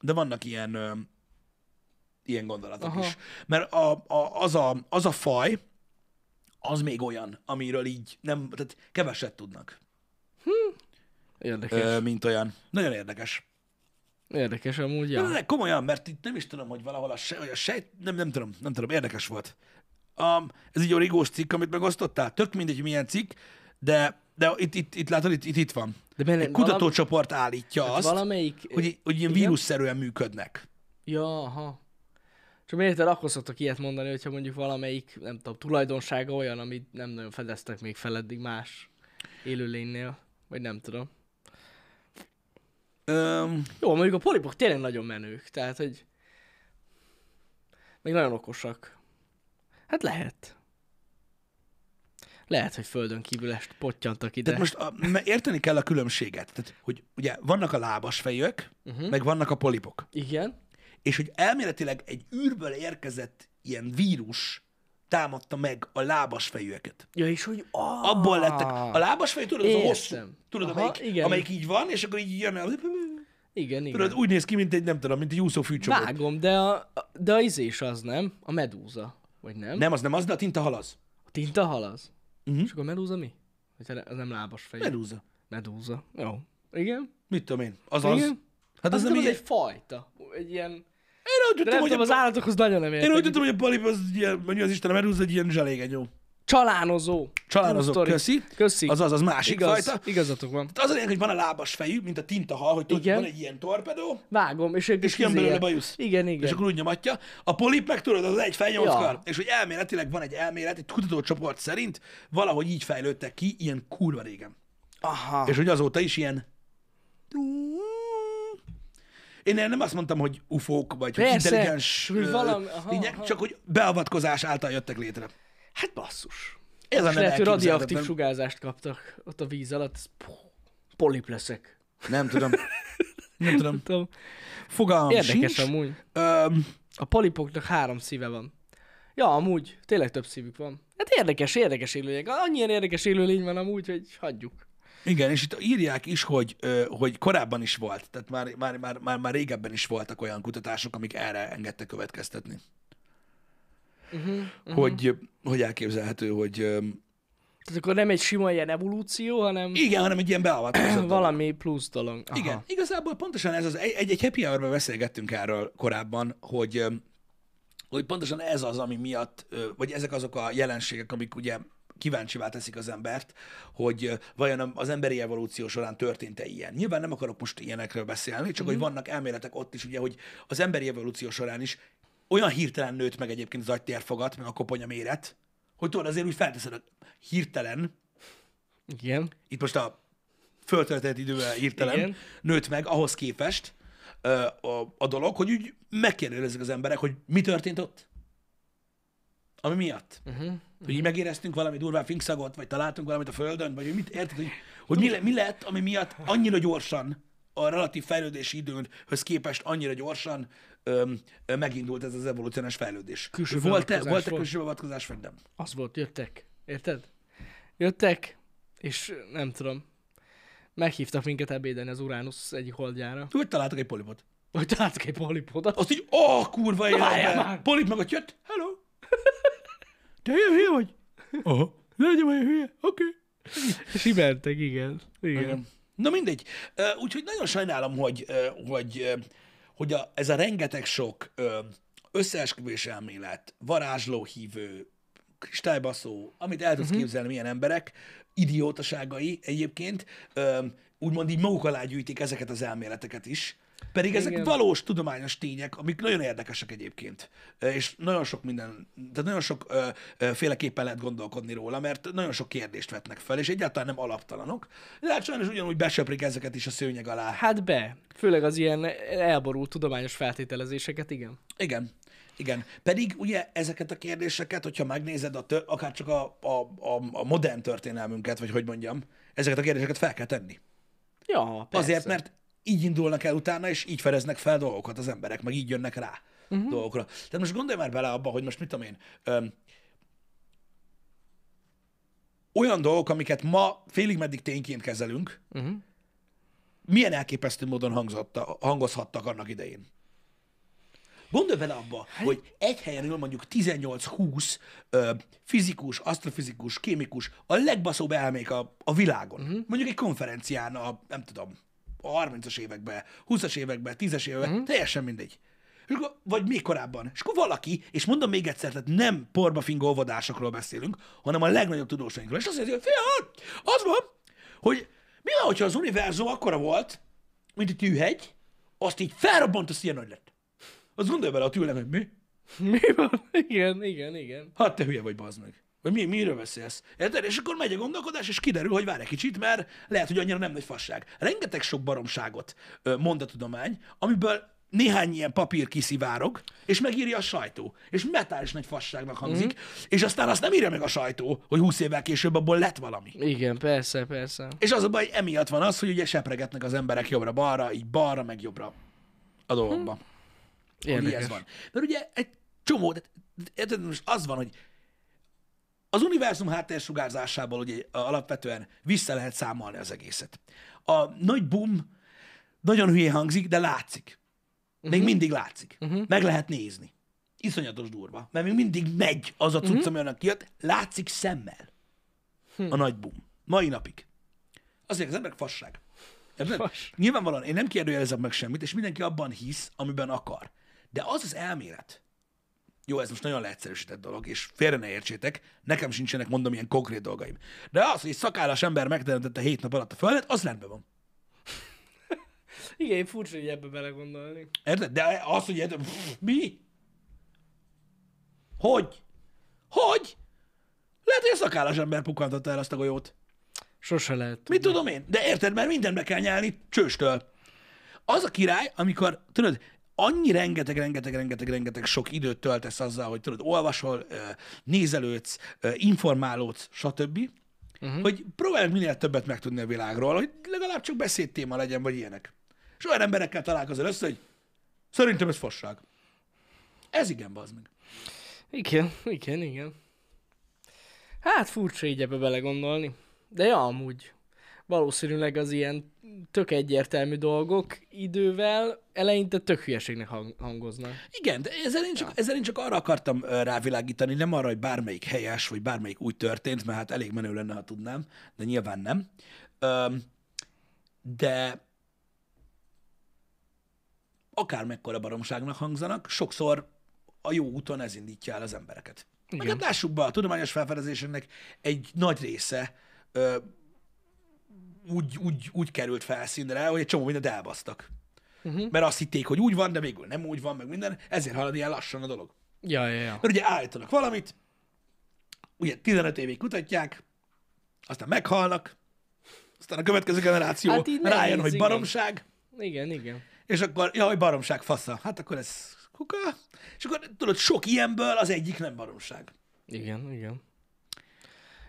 De vannak ilyen, ö, ilyen gondolatok aha.
Aha.
is. Mert a, a, az, a, az a faj, az még olyan, amiről így nem, tehát keveset tudnak,
Érdekes.
ö, mint olyan. Nagyon érdekes.
Érdekes amúgy,
Ja.
ja.
De komolyan, mert itt nem is tudom, hogy valahol a, se, vagy a sejt, nem, nem tudom, nem tudom, érdekes volt. Um, ez egy origós cikk, amit megosztottál, tök mindegy, hogy milyen cikk, de, de itt, itt, itt látod, itt, itt, itt van.
De benne,
Egy kutatócsoport állítja azt,
valamelyik...
hogy, hogy ilyen
hát igen?
vírusszerűen működnek.
Ja, aha. Csak miért akkor szoktak ilyet mondani, hogyha mondjuk valamelyik, nem tudom, tulajdonsága olyan, amit nem nagyon fedeztek még fel eddig más élőlénynél, vagy nem tudom.
Öm, Um,
Jó, mondjuk a polipok tényleg nagyon menők, tehát hogy Meg nagyon okosak. Hát lehet. Lehet, hogy földön kívül est pottyantak ide.
Tehát most a, m- érteni kell a különbséget. Tehát, hogy ugye vannak a lábas fejők, uh-huh. meg vannak a polipok.
Igen.
És hogy elméletileg egy űrből érkezett ilyen vírus támadta meg a lábas fejűeket.
Ja, és hogy a...
Abból lettek. A lábas fejű, tudod, az a hosszú.
Ah. Értem.
Tudod,
Aha,
amelyik,
igen.
amelyik, így van, és akkor így jön el.
Igen, igen.
Tudod, úgy néz ki, mint egy, nem tudom, mint egy úszó fűcsomó.
Vágom, de a, a- de a izés az nem. A medúza. Vagy nem?
Nem, az nem az, de a tinta halaz.
A tinta halaz.
Mhm.
És akkor a medúza mi? Vagy te- az nem lábas fejű.
Medúza.
Medúza. Jó. Igen?
Mit tudom én? Az az.
Igen.
Hát az nem
az
így.
egy
Én
fajta. Egy ilyen...
úgy
De nem
tudtam, hogy
tudom, az
a-
állatokhoz nagyon nem
én úgy
értek.
tudtam, hogy a palip az ilyen, mondja az Isten, a medúza egy ilyen zselégenyó.
Csalánozó.
Csalánozó,
True story.
köszi.
Köszi.
Az az, az másik
Igaz,
fajta. Hát
Igazatok van.
Az a lényeg, hogy van a lábas fejű, mint a tinta hal, hogy tudod,
Igen.
van egy ilyen torpedó,
Vágom, és, izé
és izé- kijön belőle bajusz.
Igen, igen.
És akkor úgy nyomatja. A polip meg tudod, az egy
Ja.
fejnyomszkal. Ja. És hogy elméletileg van egy elmélet, egy kutatócsoport szerint valahogy így fejlődtek ki, ilyen kurva régen.
Aha.
És hogy azóta is ilyen... Én nem azt mondtam, hogy ufók, vagy hogy
Persze,
intelligens
hogy
ö,
valami- aha,
lények,
aha.
csak hogy beavatkozás által jöttek létre.
Hát basszus.
Ez a
És lehet, hogy radioaktív
nem
sugárzást kaptak ott a víz alatt. ez- Puh, Polip leszek.
Nem tudom. Nem tudom.
Tudom.
Fogalmam
Érdekes
sincs.
amúgy.
Öm,
A polipoknak három szíve van. Ja, amúgy, tényleg több szívük van. Hát érdekes, érdekes élőlények. Annyian érdekes élőlény van amúgy, hogy hagyjuk.
Igen, és itt írják is, hogy, ö, hogy korábban is volt, tehát már, már, már, már, már régebben is voltak olyan kutatások, amik erre engedtek következtetni. Uh-huh, hogy, ö, hogy elképzelhető, hogy ö,
Tehát akkor nem egy sima ilyen evolúció, hanem
igen, hanem egy ilyen beavatkozott dolog.
valami plusz dolog. Aha.
Igen, igazából pontosan ez az, egy, egy happy hour beszélgettünk erről korábban, hogy, ö, hogy pontosan ez az, ami miatt, ö, vagy ezek azok a jelenségek, amik ugye kíváncsivá teszik az embert, hogy ö, vajon az emberi evolúció során történt-e ilyen. Nyilván nem akarok most ilyenekről beszélni, csak hogy vannak elméletek ott is, ugye, hogy az emberi evolúció során is olyan hirtelen nőtt meg egyébként az agytérfogat, meg a koponya méret, hogy tudod, azért úgy felteszed, hogy hirtelen,
Igen.
itt most a föltöltett idővel hirtelen
Igen.
nőtt meg ahhoz képest ö, a, a dolog, hogy úgy megkérdezik az emberek, hogy mi történt ott. Ami miatt. Uh-huh. Hogy így megéreztünk valami durván finkszagot, vagy találtunk valamit a földön, vagy hogy mit érted, hogy, hogy mi, le, mi lett, ami miatt annyira gyorsan a relatív fejlődési időnhöz képest annyira gyorsan öm, ö, megindult ez az evolúciós fejlődés.
Külső
volt-e,
beavatkozás
volt-e
volt?
külső beavatkozás, vagy nem?
Az volt, jöttek. Érted? Jöttek, és nem tudom. Meghívtak minket ebédelni az Uránusz egyik holdjára.
Hogy találtak egy polipot?
Vagy találtak egy polipódat.
Azt így, ó, kurva
várjál
életben.
már!
Polip meg ott jött, hello.
*laughs*
Te ilyen hülye vagy? Aha. Ne legyen olyan hülye, oké.
És így mentek, igen.
Okay.
Igen.
Na mindegy. Ö, Úgyhogy nagyon sajnálom, hogy, ö, hogy, ö, hogy a, ez a rengeteg sok ö, összeesküvés elmélet, varázslóhívő, kristálybaszó, amit el tudsz
Mhm.
uh-huh. képzelni milyen emberek, idiótaságai egyébként, ö, úgymond így maguk alá gyűjtik ezeket az elméleteket is. Pedig ezek
Igen.
valós tudományos tények, amik nagyon érdekesek egyébként. Ö, És nagyon sok minden, tehát nagyon sok ö, ö, féleképpen lehet gondolkodni róla, mert nagyon sok kérdést vetnek fel, és egyáltalán nem alaptalanok. De hát sajnos ugyanúgy besöprik ezeket is a szőnyeg alá.
Hát be. Főleg az ilyen elborult tudományos feltételezéseket, igen.
Igen. Igen. Pedig ugye ezeket a kérdéseket, hogyha megnézed a tör, akár csak a, a, a, a modern történelmünket, vagy hogy mondjam, ezeket a kérdéseket fel kell tenni.
Ja, persze.
Persze. Azért, mert így indulnak el utána, és így fedeznek fel dolgokat az emberek, meg így jönnek rá uh-huh. dolgokra. Tehát most gondolj már bele abba, hogy most mit tudom én, öm, olyan dolgok, amiket ma félig meddig tényként kezelünk, uh-huh. milyen elképesztő módon hangzotta, hangozhattak annak idején. Gondolj bele abba, hogy egy helyen ül mondjuk 18-20 ö, fizikus, asztrofizikus, kémikus, a legbaszóbb elmék a, a világon. Uh-huh. Mondjuk egy konferencián a, nem tudom, a 30-as években, 20-as években, 10-es években, uh-huh. teljesen mindegy. És akkor, vagy még korábban. És akkor valaki, és mondom még egyszer, tehát nem porbafingo óvodásokról beszélünk, hanem a legnagyobb tudósainkról. És azt mondja, hogy fia, az van, hogy mi van, hogyha az univerzum akkora volt, mint egy tűhegy, azt így felrobbant, az ilyen nagy lett. Az gondolj bele, a tűlem, hogy mi?
*laughs* Mi van? Igen, igen, igen.
Hát te hülye vagy, bazd meg. Vagy mi, miről beszélsz? Érted? És akkor megy a gondolkodás, és kiderül, hogy várj egy kicsit, mert lehet, hogy annyira nem nagy fasság. Rengeteg sok baromságot ö, mond a tudomány, amiből néhány ilyen papír kiszivárog, és megírja a sajtó. És metális nagy fasságnak hangzik, mm-hmm. és aztán azt nem írja meg a sajtó, hogy 20 évvel később abból lett valami.
Igen, persze, persze.
És az a baj, emiatt van az, hogy ugye sepregetnek az emberek jobbra-balra, így balra, meg jobbra a dolgokba. Hogy
Érdekes.
ez van. Mert ugye egy csomó, tehát- érted, most az van, hogy az univerzum háttérsugárzásából ugye alapvetően vissza lehet számolni az egészet. A nagy boom nagyon hülyé hangzik, de látszik. Még uh-huh. mindig látszik. Uh-huh. Meg lehet nézni. Iszonyatos durva. Mert még mindig megy az a cucc, uh-huh. ami annak kijött. Látszik szemmel a nagy boom. Mai napig. Azért az emberek fasság. Érted?
Fas.
Nyilvánvalóan én nem kérdőjelezem meg semmit, és mindenki abban hisz, amiben akar. De az az elmélet, jó, ez most nagyon leegyszerűsített dolog, és félre ne értsétek, nekem sincsenek, mondom, ilyen konkrét dolgaim. De az, hogy egy szakállas ember megteremtette hét nap alatt a földet, az rendben van.
Igen, furcsa, hogy ebbe belegondolni.
Érted? De az, hogy érted, pff, mi? Hogy? Hogy? Lehet, hogy a szakállas ember pukantotta el azt a golyót.
Sose lehet.
Mit tudom én? De érted, mert mindenbe kell nyálni csőstől. Az a király, amikor, tudod, annyi rengeteg, rengeteg, rengeteg, rengeteg sok időt töltesz azzal, hogy tudod, olvasol, ö, nézelődsz, ö, informálódsz, stb., uh-huh. hogy próbálj minél többet megtudni a világról, hogy legalább csak beszédtéma legyen, vagy ilyenek. És olyan emberekkel találkozol össze, hogy szerintem ez fosság. Ez igen, bazd meg.
Igen, igen, igen. Hát furcsa így ebbe belegondolni. De ja, amúgy. Valószínűleg az ilyen tök egyértelmű dolgok idővel eleinte tök hülyeségnek hang- hangoznak.
Igen, de ezzel én, csak, ezzel én csak arra akartam ö, rávilágítani, nem arra, hogy bármelyik helyes, vagy bármelyik úgy történt, mert hát elég menő lenne, ha tudnám, de nyilván nem. Öm, de akármekkora baromságnak hangzanak, sokszor a jó úton ez indítja el az embereket. Meg hát lássuk be, a tudományos felfedezésének egy nagy része ö, úgy, úgy, úgy került felszínre, hogy egy csomó mindent elbasztak.
Mhm.
Uh-huh. Mert azt hitték, hogy úgy van, de végül nem úgy van, meg minden, ezért halad ilyen lassan a dolog.
Ja, ja, ja.
Mert ugye állítanak valamit, ugye 15 évig kutatják, aztán meghalnak, aztán a következő generáció
Hát
hát
így
rájön,
nehéz,
hogy
igen.
baromság,
Igen, igen.
és akkor, jaj, baromság, fasza. Hát akkor ez kuka. És akkor tudod, sok ilyenből az egyik nem baromság.
Igen, igen.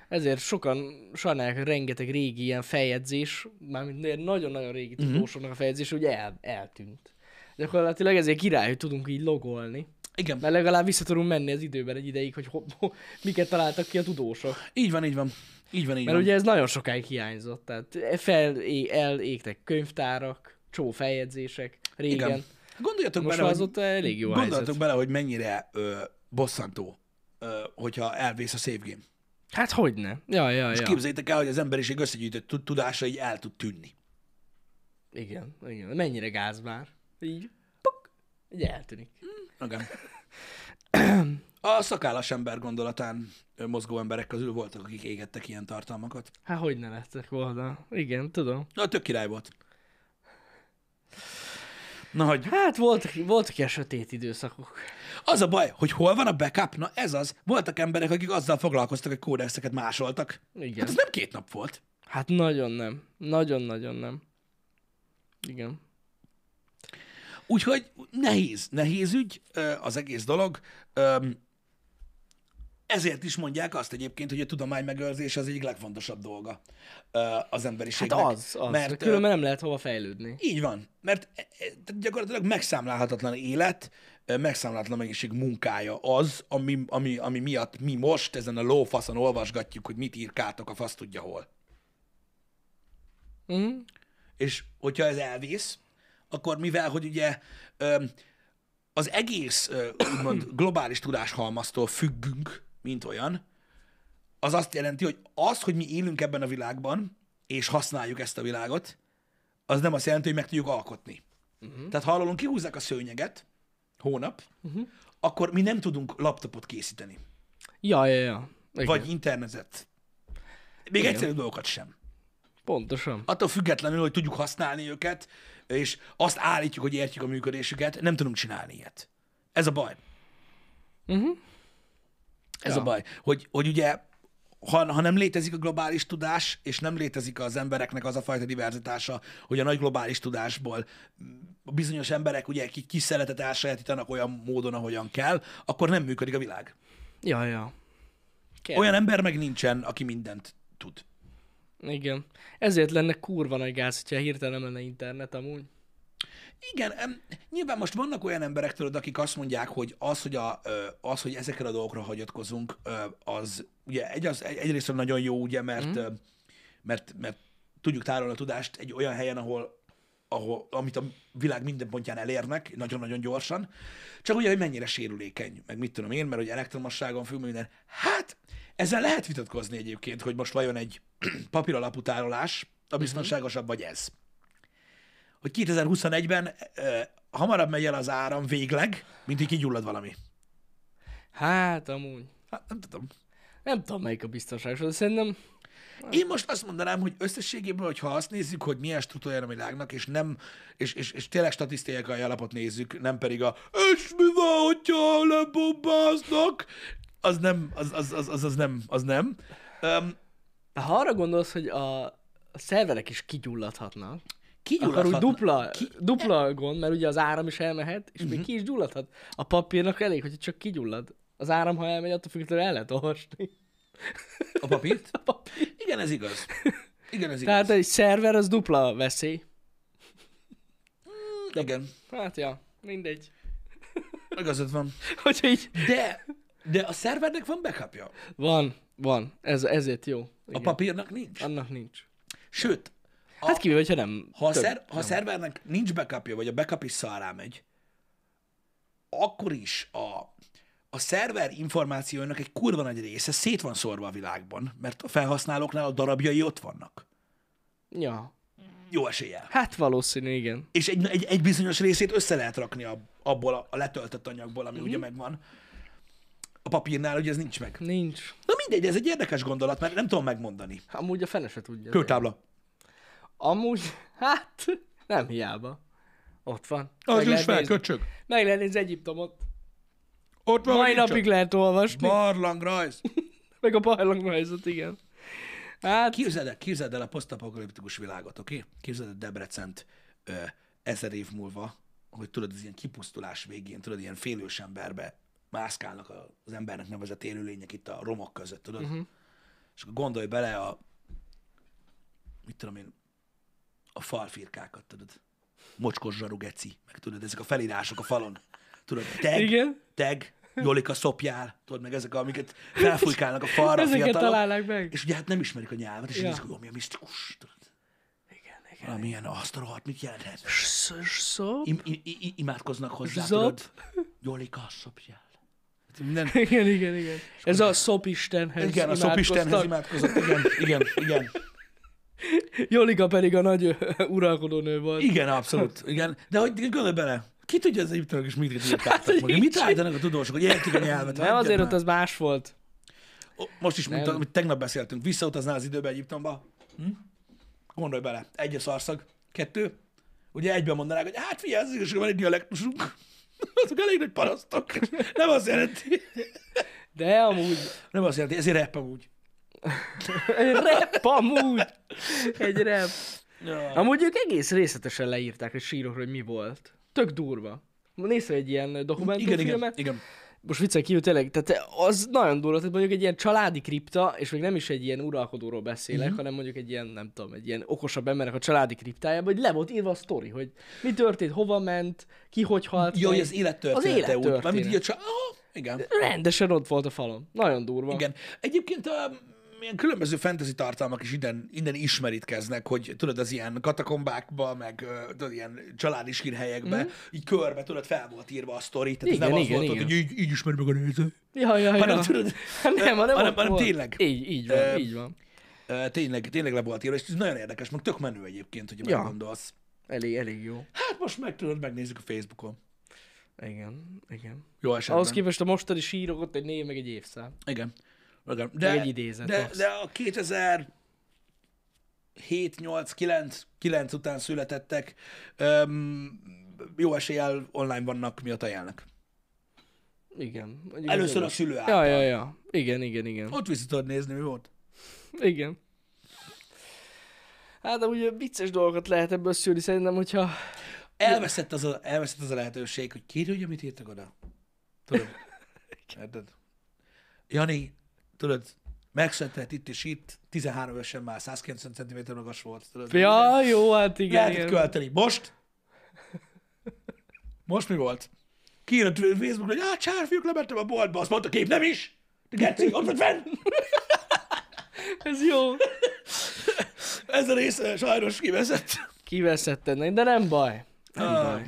Ezért sokan sajnálják, hogy rengeteg régi ilyen feljegyzés, mármint ilyen nagyon-nagyon régi tudósoknak a feljegyzés, ugye el, eltűnt. Gyakorlatilag ezért király, hogy tudunk így logolni.
Igen,
Mert legalább vissza tudunk menni az időben egy ideig, hogy ho, ho, miket találtak ki a tudósok.
így van, így van. Így van, így
Mert
van.
ugye ez nagyon sokáig hiányzott. Tehát fel, é, elégtek könyvtárak, csó feljegyzések régen.
Igen.
Igen.
Gondoljatok
Most
bele,
már
hogy-
azóta elég jó
Gondoljatok
helyzet.
bele, hogy mennyire ö, bosszantó, ö, hogyha elvész a save game.
Hát hogyne. Ja, ja,
És
ja.
képzeljétek el, hogy az emberiség összegyűjtött tud- tudása így el tud tűnni.
Igen, igen. Mennyire gáz már. Így, puk, így eltűnik.
Igen. A szakállas ember gondolatán ö, mozgó emberek közül voltak, akik égettek ilyen tartalmakat.
Hát hogy ne lettek volna? Igen, tudom.
Na, tök király volt. Na, hogy
Hát voltak, voltak ilyen sötét időszakok.
az a baj, hogy hol van a backup? Na, ez az. Voltak emberek, akik azzal foglalkoztak, hogy kódexeket másoltak.
Igen.
Hát ez nem két nap volt.
Hát nagyon nem. Nagyon-nagyon nem. Igen.
Úgyhogy nehéz, nehéz ügy ö, az egész dolog. Öm, Ezért is mondják azt egyébként, hogy a tudománymegőrzés az egyik legfontosabb dolga ö, az
Hát
emberiségnek.
az, az. Mert,
Mert, ö,
különben nem lehet hova fejlődni.
Így van, mert e- e- tehát gyakorlatilag megszámlálhatatlan élet, ö, megszámlálhatatlan mennyiség munkája az, ami, ami, ami miatt mi most ezen a lófaszon olvasgatjuk, hogy mit írkáltok a fasz tudja hol.
Mhm.
És hogyha ez elvész, akkor mivel, hogy ugye öm, az egész ö, úgymond globális tudáshalmaztól függünk, mint olyan, az azt jelenti, hogy az, hogy mi élünk ebben a világban, és használjuk ezt a világot, az nem azt jelenti, hogy meg tudjuk alkotni. Uh-huh. Tehát ha alulunk kihúzzák a szőnyeget, hónap, uh-huh. akkor mi nem tudunk laptopot készíteni,
Ja, ja, ja. Igen.
vagy internetet. Még egyszerű dolgokat sem.
Pontosan.
Attól függetlenül, hogy tudjuk használni őket, és azt állítjuk, hogy értjük a működésüket, nem tudunk csinálni ilyet. Ez a baj. Uh-huh. Ez ja. a baj, hogy, hogy ugye ha, ha nem létezik a globális tudás, és nem létezik az embereknek az a fajta diverzitása, hogy a nagy globális tudásból mm, bizonyos emberek ugye ki- kis szeletet elsajátítanak olyan módon, ahogyan kell, akkor nem működik a világ.
Ja, ja. Kell.
Olyan ember meg nincsen, aki mindent tud.
Igen. Ezért lenne kurva nagy gáz, hogyha hirtelen nem lenne internet amúgy.
Igen, em, nyilván most vannak olyan emberek, tudod, akik azt mondják, hogy az, hogy, a, ö, az, hogy ezekre a dolgokra hagyatkozunk, ö, az ugye egy, az, egy- egyrészt nagyon jó, ugye, mert, mm. mert, mert tudjuk tárolni a tudást egy olyan helyen, ahol, ahol amit a világ minden pontján elérnek, nagyon-nagyon gyorsan, csak ugye, hogy mennyire sérülékeny, meg mit tudom én, mert hogy elektromosságon függ meg minden. Hát, ezzel lehet vitatkozni egyébként, hogy most vajon egy *clears throat* papíralapú tárolás a biztonságosabb, vagy ez hogy 2021-ben ö, hamarabb megy el az áram végleg, mint így kigyullad valami.
Hát amúgy.
Hát nem tudom.
Nem tudom, melyik a biztonságos, de szerintem
Én most azt mondanám, hogy összességében, hogy ha azt nézzük, hogy milyen struktúrája a világnak, és nem, és, és, és tényleg statisztikai alapot nézzük, nem pedig a és mi van, hogyha lebombáznak, az nem, az, az, az, az, az nem, az nem. Um,
ha arra gondolsz, hogy a, a szerverek is kigyulladhatnak, akkor úgy
kigyulladhatna.
dupla, ki... dupla gond, mert ugye az áram is elmehet, és uh-huh.
Mhm.
még ki is gyulladhat. A papírnak elég, hogy csak kigyullad. Az áram, ha elmegy, attól függetlenül el lehet olvasni.
*laughs* A papírt?
A papír.
Igen, ez igaz. Igen, ez igaz.
Tehát egy szerver az dupla veszély.
Igen,
Hát ja, mindegy. *laughs*
igazad van.
Hogyha így...
De, de a szervernek van backupja.
Van, van. Ez, ezért jó.
A
Igen.
papírnak nincs.
Annak nincs.
Sőt,
Hát kivéve, hogyha nem.
ha a,
több.
szer, ha a szervernek nincs backupja, vagy a backup is szarrá megy, akkor is a, a szerver információinak egy kurva nagy része szét van szórva a világban, mert a felhasználóknál a darabjai ott vannak.
Ja.
Jó eséllyel.
Hát valószínű, igen.
És egy, egy, egy bizonyos részét össze lehet rakni a, abból a, a letöltött anyagból,
Mhm.
ami mm-hmm. ugye megvan. A papírnál ugye ez nincs meg.
Nincs.
Na mindegy, ez egy érdekes gondolat, mert nem tudom megmondani.
Amúgy a fene se tudja.
Kőtábla.
Amúgy, hát, nem hiába. Ott van.
Az
lehet
is fel,
nézni.
köcsög.
Meg lehet nézni Egyiptomot.
Ott van,
Mai
hogy nincs
napig lehet olvasni.
a barlangrajz.
Meg a barlangrajzot, igen. Hát,
Képzeld el, képzeld el a posztapokaliptikus világot, oké? Okay? Képzeld el Debrecent ö, ezer év múlva, hogy tudod, az ilyen kipusztulás végén, tudod, ilyen félős emberbe mászkálnak a- az embernek nevezett élőlények itt a romok között, tudod?
Mhm.
Uh-huh. És akkor gondolj bele a, mit tudom én, a falfirkákat, tudod? Mocskos zsaru geci, meg tudod, ezek a felírások a falon. Tudod, tag,
Igen.
tag, Jolika szopjál, tudod, meg ezek, amiket felfújkálnak a falra
ezeket
fiatalok.
találják meg.
És ugye hát nem ismerik a nyelvet, és ja.
Ja.
nézik, hogy ami a misztikus, tudod,
Igen, igen.
valamilyen azt a rohadt, mit jelenthet?
Sz- szó?
Im, im, im, imádkoznak hozzá,
Zsop.
tudod, Jolika szopjál. Hát Minden...
Igen, igen, igen. Ez a szopistenhez
Igen, a szopistenhez
imádkoztak.
imádkozott, igen, igen, igen.
Jolika pedig a nagy ö, uralkodó nő volt.
Igen, abszolút, igen. De hogy gondolj bele, ki tudja az egyiptomok és mit írták meg? Mit
nincs.
állítanak a tudósok, hogy értik a nyelvet?
Hát Nem
Hagyjad
azért,
már.
ott az más volt.
Ó, Most is, mint amit tegnap beszéltünk, visszautaznál az időbe Egyiptomba. Hm? Gondolj bele, egy a szarszag, kettő. Ugye egyben mondanák, hogy hát figyelj, az igazság, van egy dialektusunk. *laughs* Azok elég nagy parasztok. Nem azt jelenti.
De amúgy,
Nem azt jelenti, ezért rap amúgy.
egy rap amúgy. Egy rap.
Ja.
Amúgy ők egész részletesen leírták a sírokról, hogy mi volt. Tök durva. Nézd egy ilyen
Igen, igen,
dokumentumfilmet.
igen.
Most viccel kívül tényleg, tehát az nagyon durva, tehát mondjuk egy ilyen családi kripta, és még nem is egy ilyen uralkodóról beszélek,
Mhm.
mm-hmm. hanem mondjuk egy ilyen, nem tudom, egy ilyen okosabb embernek a családi kriptájában, hogy le volt írva a sztori, hogy mi történt, hova ment, ki hogy halt.
Jó, hogy
meg.
az élettörténete
élettörténet.
úgy. Mármint így a csa... Ah, igen.
Rendesen ott volt a falon. Nagyon durva.
Igen. Egyébként a ilyen különböző fantasy tartalmak is innen, innen ismerítkeznek, hogy tudod, az ilyen katakombákba, meg ö, tudod, ilyen családi sírhelyekbe, mm. így körbe, tudod, fel volt írva a sztori, tehát igen,
Mhm. Igen,
ez nem igen,
igen,
az volt,
igen.
hogy így, így ismeri meg a néző.
Ja, ja, ja.
Hanem tudod,
*laughs* nem, hanem,
hanem-
ott
hanem
volt.
tényleg.
Így, így van,
Ö,
így van.
Ö, tényleg, tényleg le volt írva, és ez nagyon érdekes, meg tök menő egyébként, hogy ja.
Ja.
meggondolsz.
Elég, elég jó.
Hát most meg tudod, megnézzük a Facebookon.
Igen, igen.
Jó esetben.
Ahhoz képest a mostani sírok ott egy név, meg egy évszám.
Igen. Igen. De,
egy idézet
de,
az.
de a 2000 7, 8, 9, 9 után születettek, öm, jó eséllyel online vannak, miatt ajánlnak.
Igen. Mondjuk ez
Először a
jogos.
szülő
Ja,
által.
ja, ja. Igen, igen, igen.
Ott vissza tudod nézni, mi volt.
Igen. Hát de ugye vicces dolgokat lehet ebből szűrni, szerintem, hogyha...
Elveszett az a, elveszett az a lehetőség, hogy kérj, hogy mit írtak oda.
*laughs*
Tudod. Érted? Jani, tudod, megszületett itt és itt, 13 évesen már 190 cm magas volt. Tudod, Minden-
Ja, jó, hát igen,
lehetett
igen.
költeni. Most? Most mi volt? Kiírott Facebookra, hogy hát sárfiúk, lementem a boltba, azt mondta kép, nem is! De Geci, ott vagy fenn!
Ez jó.
Ez a része sajnos kiveszett.
Kiveszettenek, de nem baj. Nem
Ah.
baj.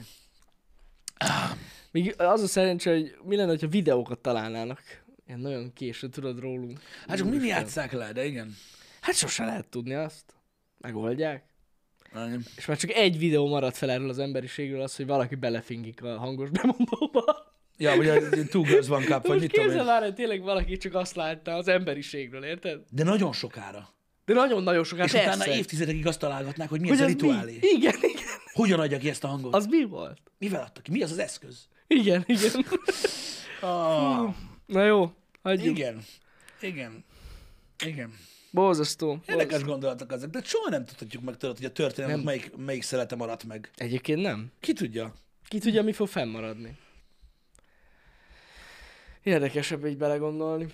Még az a szerencsé, hogy mi lenne, ha videókat találnának. Ilyen nagyon késő, tudod rólunk.
Hát csak mi játsszák le, de igen.
Hát sose lehet tudni azt. Megoldják.
Igen.
És már csak egy videó maradt fel erről az emberiségről, az, hogy valaki belefingik a hangos bemondóba.
Ja, ugye túl göz van kap,
De
vagy
most
mit tudom
képzel
én.
már, hogy tényleg valaki csak azt látta az emberiségről, érted?
De nagyon sokára.
De nagyon-nagyon sokat.
És
persze.
utána évtizedekig azt találgatnák, hogy mi
Hogy
ez a
az mi?
rituálé.
Igen, igen.
Hogyan adja ki ezt a hangot?
Az mi volt?
Mivel adta ki? Mi az az eszköz?
Igen, igen.
Ah,
*laughs* Na jó, hagyjuk. Igen.
igen. Igen. Igen.
Borzasztó. borzasztó.
Érdekes gondolatok ezek, de soha nem tudhatjuk meg tőled, hogy a történelem melyik, melyik szelete maradt meg.
Egyébként nem.
Ki tudja?
Ki tudja, mi fog fennmaradni. Érdekesebb így belegondolni.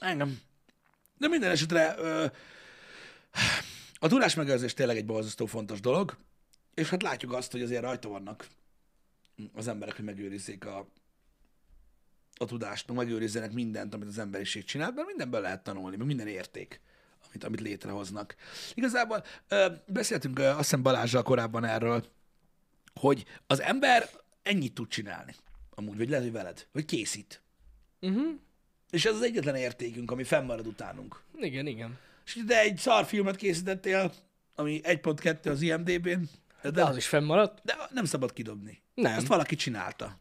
Engem. De minden esetre ö, a tudás megőrzés tényleg egy borzasztó fontos dolog, és hát látjuk azt, hogy azért rajta vannak az emberek, hogy megőrizzék a, a tudást, meg megőrizzenek mindent, amit az emberiség csinált, mert mindenből lehet tanulni, meg minden érték, amit, amit létrehoznak. Igazából ö, beszéltünk ö, azt hiszem Balázsral korábban erről, hogy az ember ennyit tud csinálni. Amúgy, vagy lehet, hogy veled, hogy készít.
Uh-huh.
És ez az egyetlen értékünk, ami fennmarad utánunk.
Igen, igen.
És hogy te egy szarfilmet készítettél, ami 1.2 az IMDB-n,
De
de,
az is fennmaradt?
de nem szabad kidobni.
Nem.
Azt valaki csinálta.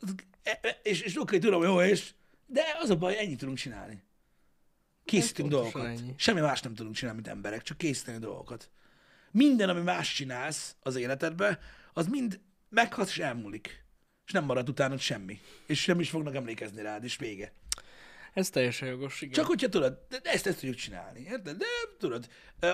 Az- e- e- És, és oké, tudom, jó, és, de az a baj, ennyit tudunk csinálni. Készítünk
Ez pontosan
dolgokat.
ennyi.
Ennyi. Semmi más nem tudunk csinálni, mint emberek, csak készíteni dolgokat. Minden, ami más csinálsz az életedbe, az mind meghat és elmúlik. És nem marad utánad semmi. És nem is fognak emlékezni rád, és vége.
Ez teljesen jogos, igen.
Csak hogyha tudod, de de ezt, ezt tudjuk csinálni, érted? De tudod,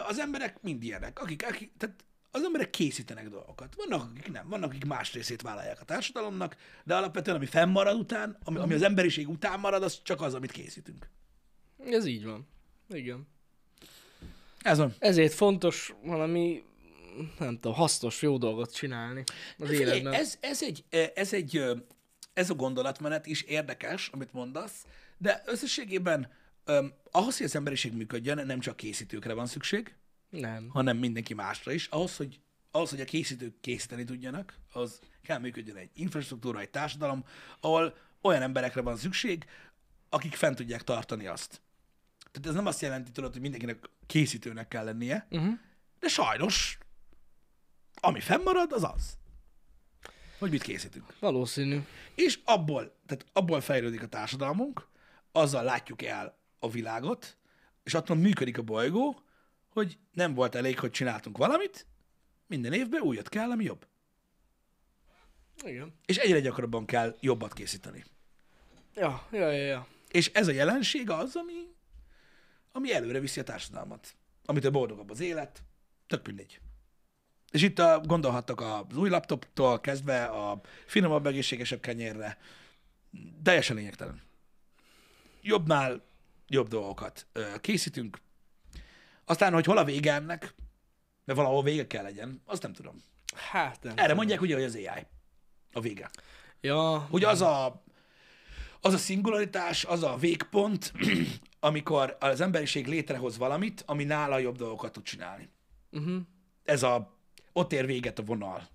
az emberek mind ilyenek, akik, akik tehát az emberek készítenek dolgokat. Vannak, akik nem, vannak, akik más részét vállalják a társadalomnak, de alapvetően, ami fennmarad után, ami, ami az emberiség után marad, az csak az, amit készítünk.
Ez így van. Igen.
Ez van.
Ezért fontos valami, nem tudom, hasznos, jó dolgot csinálni az
Figyelj,
életben.
Ez, ez, egy, ez egy, ö, ez a gondolatmenet is érdekes, amit mondasz, de összességében öm, ahhoz, hogy az emberiség működjön, nem csak készítőkre van szükség,
Nem.
hanem mindenki másra is. Ahhoz, hogy, ahhoz, hogy a készítők készíteni tudjanak, az kell működjön egy infrastruktúra, egy társadalom, ahol olyan emberekre van szükség, akik fent tudják tartani azt. Tehát ez nem azt jelenti, tudod, hogy mindenkinek készítőnek kell lennie,
Uh-huh.
de sajnos, ami fennmarad, az az. Hogy mit készítünk.
Valószínű.
És abból, tehát abból fejlődik a társadalmunk, azzal látjuk el a világot, és attól működik a bolygó, hogy nem volt elég, hogy csináltunk valamit, minden évben újat kell, ami jobb.
Igen.
És egyre gyakrabban kell jobbat készíteni.
Ja, ja, ja, ja.
És ez a jelenség az, ami, ami előre viszi a társadalmat. Amitől boldogabb az élet, tök mindegy. És itt a, gondolhattak az új laptoptól kezdve a finomabb, egészségesebb kenyérre. Teljesen lényegtelen. Jobbnál jobb dolgokat ö, készítünk. Aztán, hogy hol a vége ennek, de valahol vége kell legyen, azt nem tudom.
Hát nem.
Erre
tudom.
mondják ugye, hogy az AI. A vége.
Ja,
Hogy az a, az a szingularitás, az a végpont, *clears throat* amikor az emberiség létrehoz valamit, ami nála jobb dolgokat tud csinálni.
uh-huh.
Ez a, ott ér véget a vonal.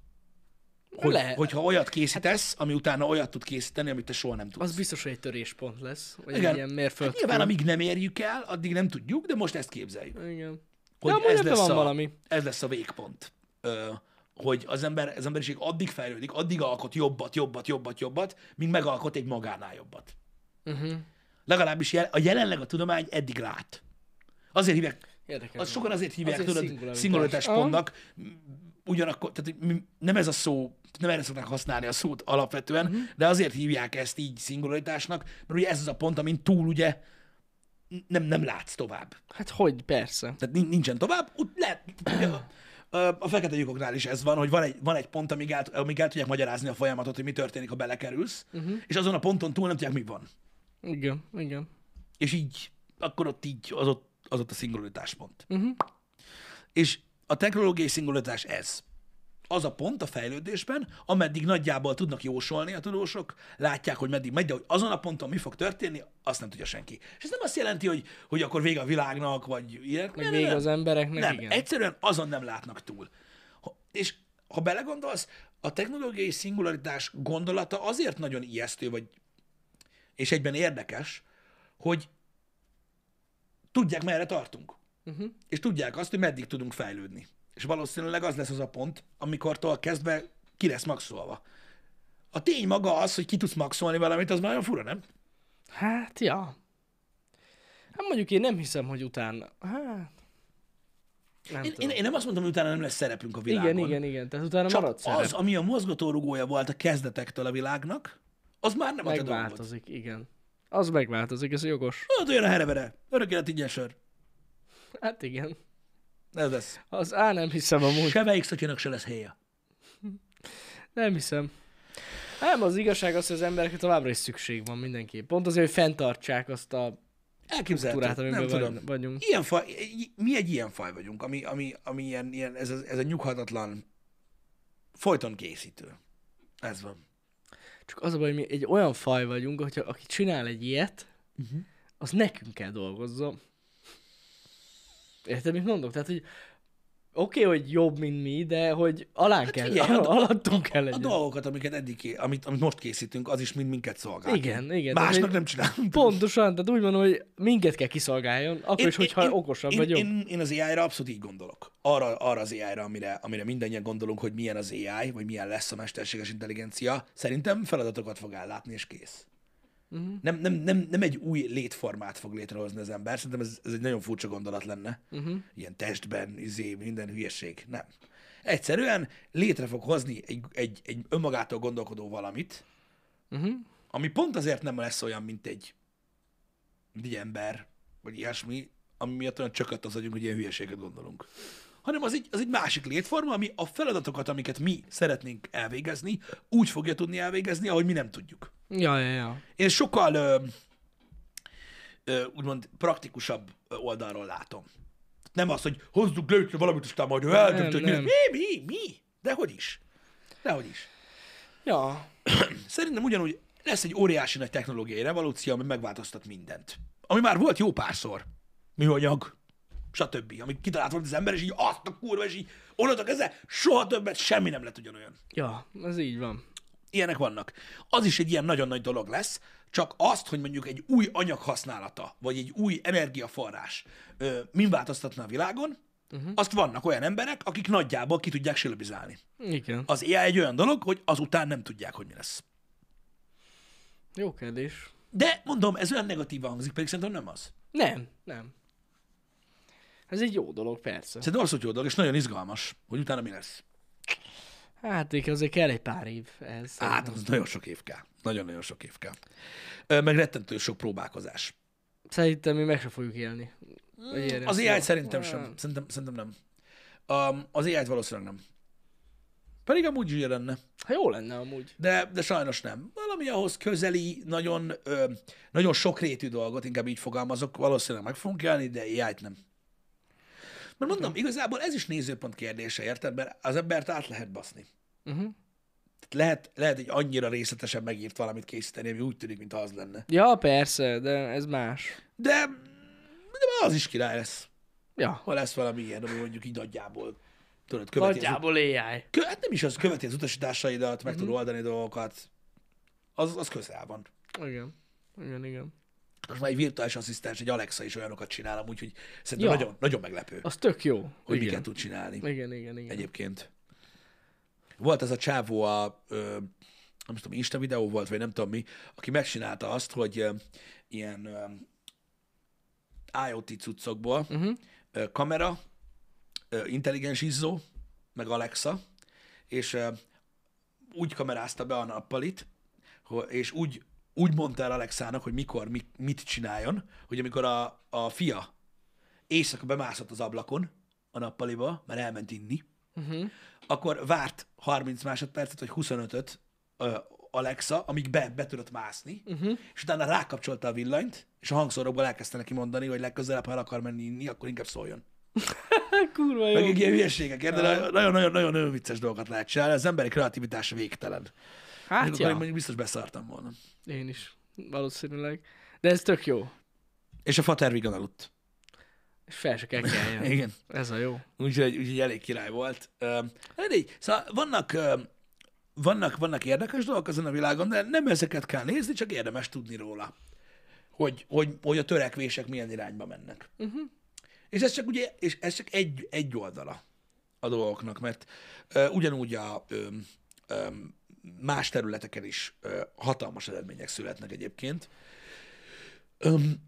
Hogy,
Lehet.
Hogyha olyat készítesz,
Hát-
ami utána olyat tud készíteni, amit te soha nem tudsz.
az biztos, hogy egy töréspont lesz. Vagy
Igen.
egy ilyen mérföld.
Hát nyilván, amíg nem érjük el, addig nem tudjuk, de most ezt képzeljük.
Igen.
Hogy
De amúgy
ez
ebben
lesz
van
a-
valami.
Ez lesz a végpont. Ö, hogy az, ember, az emberiség addig fejlődik, addig alkot jobbat, jobbat, jobbat, jobbat, míg megalkot egy magánál jobbat.
Uh-huh.
Legalábbis jel, a jelenleg a tudomány eddig lát. Azért hívják,
Érdekes.
az sokan azért hívják,
Azért
tudod,
szingularitás.
szingularitás pontnak, m- ugyanakkor, tehát hogy mi- nem ez a szó nem erre szokták használni a szót alapvetően, uh-huh. de azért hívják ezt így szingularitásnak, mert ugye ez az a pont, amin túl ugye nem, nem látsz tovább.
Hát hogy, persze.
Tehát nin- nincsen tovább, úgy lehet, ugye, a- a- a fekete lyukoknál is ez van, hogy van egy, van egy pont, amíg el, amíg el tudják magyarázni a folyamatot, hogy mi történik, ha belekerülsz, uh-huh. és azon a ponton túl nem tudják, mi van.
Igen, igen.
És így, akkor ott így, az ott, az ott a szingularitás pont.
Mhm.
Uh-huh. És a technológiai szingularitás ez. Az a pont a fejlődésben, ameddig nagyjából tudnak jósolni a tudósok, látják, hogy meddig megy, de hogy azon a ponton mi fog történni, azt nem tudja senki. És ez nem azt jelenti, hogy, hogy akkor vége a világnak, vagy ilyenek.
Meg
Nem,
vége
nem,
az embereknek,
nem,
igen.
egyszerűen azon nem látnak túl. Ha- És ha belegondolsz, a technológiai szingularitás gondolata azért nagyon ijesztő, vagy és egyben érdekes, hogy tudják, merre tartunk.
Mhm.
Uh-huh. És tudják azt, hogy meddig tudunk fejlődni. És valószínűleg az lesz az a pont, amikortól kezdve ki lesz maxolva. A tény maga az, hogy ki tudsz maxolni valamit, az már nagyon fura, nem?
Hát, ja. Hát mondjuk én nem hiszem, hogy utána... Hát... Nem
Én,
tudom.
én, én nem azt mondom, hogy utána nem lesz szerepünk a világon.
igen, igen, igen. Tehát utána
Csak
marad szerep.
az, ami a mozgatórugója volt a kezdetektől a világnak, az már nem a te dolgod.
Megváltozik, igen. Az megváltozik, ez jogos.
Hát olyan a herevere, örök élet ingyen sör.
Hát igen.
Ez lesz.
Az, á, nem hiszem amúgy.
Semmelyik szatyanak se lesz helye.
Nem hiszem. Nem, az igazság az, hogy az emberekre továbbra is szükség van mindenképp. Pont azért, hogy fenntartsák azt a
Elképzelhető.
túrát,
Hát, Nem
amiben
tudom.
vagy- vagyunk.
Ilyen faj, i- mi egy ilyen faj vagyunk, ami, ami, ami ilyen, ilyen ez, a, ez a nyughatatlan, folyton készítő. Ez van.
Csak az a baj, hogy mi egy olyan faj vagyunk, hogyha aki csinál egy ilyet,
Mhm.
az nekünk kell dolgozzon. Érted, mit mondok? Tehát, hogy oké, okay, hogy jobb, mint mi, de hogy alán hát kell,
figyelj,
*laughs*
a-
alattunk kell
A
legyen.
dolgokat, amiket eddig, ké- amit, amit most készítünk, az is mind minket szolgál.
Igen, igen, tehát
Másnak
egy-
nem csinálunk.
Pontosan, tehát úgy mondom, hogy minket kell kiszolgáljon, akkor is, hogyha okosabb
én,
vagy jobb.
Én, én az AI-ra abszolút így gondolok. Arra, arra az AI-ra, amire, amire mindannyian gondolunk, hogy milyen az AI, vagy milyen lesz a mesterséges intelligencia, szerintem feladatokat fog ellátni, és kész.
Mhm.
Uh-huh. Nem, nem, nem, nem egy új létformát fog létrehozni az ember, szerintem ez, ez egy nagyon furcsa gondolat lenne.
Mhm.
Uh-huh. Ilyen testben, izé, minden hülyeség. Nem. Egyszerűen létre fog hozni egy, egy, egy önmagától gondolkodó valamit, uh-huh.
Mhm.
ami pont azért nem lesz olyan, mint egy mint egy ember, vagy ilyesmi, ami miatt olyan csökött az agyunk, hogy ilyen hülyeséget gondolunk. Hanem az egy, az egy másik létforma, ami a feladatokat, amiket mi szeretnénk elvégezni, úgy fogja tudni elvégezni, ahogy mi nem tudjuk.
Ja, ja, ja.
Én sokkal ö, ö, úgymond praktikusabb oldalról látom. Nem az, hogy hozzuk létre valamit, aztán majd ő eldönt, hogy mi,
nem.
mi, mi, mi, dehogy is. Dehogy is.
Ja,
Szerintem ugyanúgy lesz egy óriási nagy technológiai revolúció, ami megváltoztat mindent. Ami már volt jó párszor. Műanyag, stb. Amit kitalált volt az ember, és így azt a kurva, és így onnantól kezdve soha többet semmi nem lett ugyanolyan.
ja, ez így van.
Ilyenek vannak. Az is egy ilyen nagyon nagy dolog lesz, csak azt, hogy mondjuk egy új anyag használata, vagy egy új energiaforrás ö, min változtatna a világon, uh-huh. azt vannak olyan emberek, akik nagyjából ki tudják silabizálni.
Igen.
Az AI egy olyan dolog, hogy azután nem tudják, hogy mi lesz.
Jó kérdés.
De mondom, ez olyan negatívan hangzik, pedig szerintem nem az.
Nem, nem. Ez egy jó dolog, persze.
Szerintem abszolút jó dolog, és nagyon izgalmas, hogy utána mi lesz.
Hát igen, azért kell egy pár év ehhez.
Hát, az nagyon sok év kell. Nagyon-nagyon sok év kell. Ö, Meg rettentő sok próbálkozás.
Szerintem mi meg se fogjuk élni. Vagy érni.
Az AI szerintem sem. Szerintem, szerintem nem. Um, az AI-t valószínűleg nem. Pedig amúgy is lenne.
Ha jó lenne amúgy.
De, de sajnos nem. Valami ahhoz közeli, nagyon, ö, nagyon sokrétű dolgot, inkább így fogalmazok, valószínűleg meg fogunk élni, de ai nem. Mert mondom, igazából ez is nézőpont kérdése, érted? Mert az embert át lehet baszni.
Uh-huh.
Tehát lehet, lehet egy annyira részletesen megírt valamit készíteni, ami úgy tűnik, mint az lenne.
Ja, persze, de ez más.
De, de már az is király lesz,
Ja.
ha lesz valami ilyen, ami mondjuk így nagyjából, tudod, követi az
Nagyjából AI.
Kö, hát nem is az, követi az utasításaidat, meg tud oldani dolgokat. Az, az közel van.
Igen. Igen, igen.
Most már egy virtuális asszisztens, egy Alexa is olyanokat csinálom, úgyhogy szerintem
Ja.
nagyon, nagyon meglepő,
Az tök jó.
hogy
igen.
miket tud csinálni
Igen, igen, igen.
egyébként. Volt ez a csávó a, ö, nem tudom, Insta videó volt, vagy nem tudom mi, aki megcsinálta azt, hogy ö, ilyen ö, IoT cuccokból uh-huh. ö, kamera, ö, intelligens izzó, meg Alexa, és ö, úgy kamerázta be a nappalit, ho- és úgy, úgy mondta el Alexának, hogy mikor, mit, mit csináljon, hogy amikor a, a fia éjszaka bemászott az ablakon a nappaliba, mert elment inni,
Uh-huh.
akkor várt 30 másodpercet, vagy 25-öt ö, Alexa, amíg be, be tudott mászni, uh-huh. és utána rákapcsolta a villanyt, és a hangszórókból elkezdte neki mondani, hogy legközelebb, ha el akar menni inni, akkor inkább szóljon.
Hát, Kurva
Meg
jó.
egy ilyen hülyeségekért, de nagyon-nagyon-nagyon vicces dolgokat lehet csinálni, az emberi kreativitása végtelen.
Hát
Hát ja.
ja.
én mondjuk biztos beszartam volna.
Én is. Valószínűleg. De ez tök jó.
És a fater vigan aludt.
És fel se kell *laughs* keljen.
Igen.
Ez a jó.
Úgyhogy, úgyhogy elég király volt. Ö, Hát így, szóval vannak, ö, vannak, vannak érdekes dolgok ezen a világon, de nem ezeket kell nézni, csak érdemes tudni róla, hogy, hogy, hogy a törekvések milyen irányba mennek. Uh-huh. És ez csak, ugye, és ez csak egy, egy oldala a dolgoknak, mert ö, ugyanúgy a ö, ö, más területeken is ö, hatalmas eredmények születnek egyébként, Öm,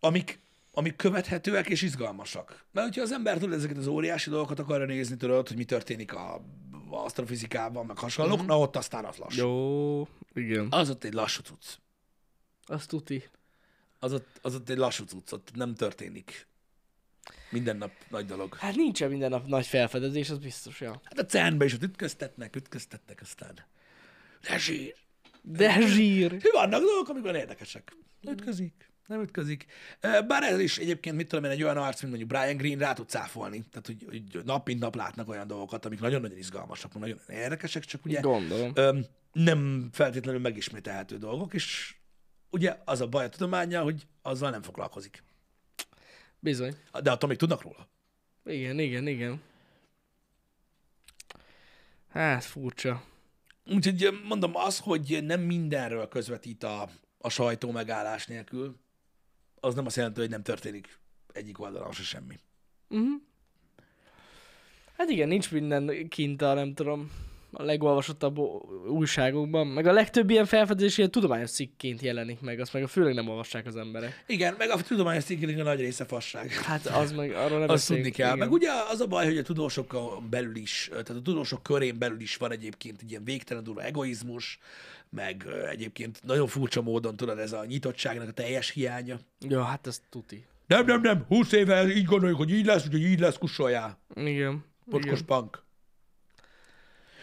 amik, amik követhetőek és izgalmasak. Mert hogyha az ember tud ezeket az óriási dolgokat akarja nézni, tudod, hogy mi történik a, a asztrofizikában, meg hasonlók, mm-hmm. na ott aztán az lassú. Jó.
Jó. Igen.
Az ott egy lassú cucc.
Azt tuti.
Az ott, az ott egy lassú cucc, ott nem történik minden nap nagy dolog.
Hát nincsen minden nap nagy felfedezés, az biztos, ja.
Hát a cern is ott ütköztetnek, ütköztetnek aztán. De zsír.
De zsír.
Hű, vannak dolgok, amikben érdekesek. Ütközik, nem ütközik. Ö, Bár ez is egyébként, mit tudom én, egy olyan arc, mint mondjuk Brian Green, rá tud cáfolni. Tehát, hogy, hogy nap mint nap látnak olyan dolgokat, amik nagyon-nagyon izgalmasak, nagyon érdekesek, csak ugye
Gondolom.
öm, nem feltétlenül megismételhető dolgok, és ugye az a baj a tudománya, hogy azzal nem foglalkozik.
Bizony.
De attól még tudnak róla.
Igen, igen, igen. Hát furcsa.
Úgyhogy ö, mondom, az, hogy nem mindenről közvetít a, a sajtó megállás nélkül, az nem azt jelenti, hogy nem történik egyik oldalon se semmi.
Mhm. Hát igen, nincs minden kint a, nem tudom, a legolvasottabb o- újságokban, meg a legtöbb ilyen felfedezés ilyen tudományos cikként jelenik meg, azt meg a főleg nem olvassák az emberek.
Igen, meg a tudományos cikknek a nagy része fasság.
Hát az meg, arról nem
Azt tudni
beszéljünk,
kell.
igen.
Meg ugye az a baj, hogy a tudósokon belül is, tehát a tudósok körén belül is van egyébként egy ilyen végtelen durva egoizmus, meg ö, egyébként nagyon furcsa módon tudod ez a nyitottságnak a teljes hiánya.
Ja, hát ez tuti.
Nem, nem, nem, 20 éve így gondoljuk, hogy így lesz, úgyhogy így lesz, kussoljál.
Igen.
Potkos punk.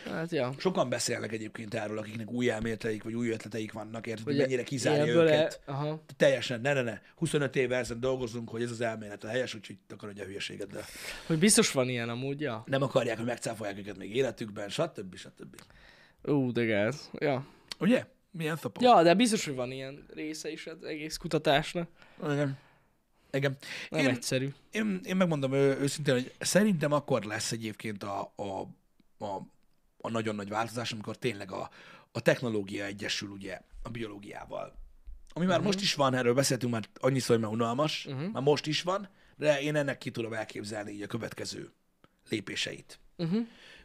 Hát ja.
Sokan beszélnek egyébként erről, akiknek új elméleteik vagy új ötleteik vannak, érted, hogy
Ugye,
mennyire kizárja
ilyenből
őket.
E, aha.
Teljesen, ne, ne, ne. 25 éve ezen dolgozunk, hogy ez az elmélet a helyes, úgyhogy takarodja a hülyeségeddel.
Hogy biztos van ilyen amúgy, ja.
nem akarják, hogy megcáfolják őket még életükben, stb. stb.
Ú, de gáz. Ja.
Ugye? Milyen szapó?
ja, de biztos, hogy van ilyen része is az egész kutatásnak.
Igen. Igen.
Nem
Én,
egyszerű.
én, én megmondom ő, őszintén, hogy szerintem akkor lesz egyébként a, a, a, a nagyon nagy változás, amikor tényleg a, a technológia egyesül ugye a biológiával. Ami már most is van, erről beszéltünk már annyiszor, hogy már unalmas, már most is van, de én ennek ki tudom elképzelni így a következő lépéseit.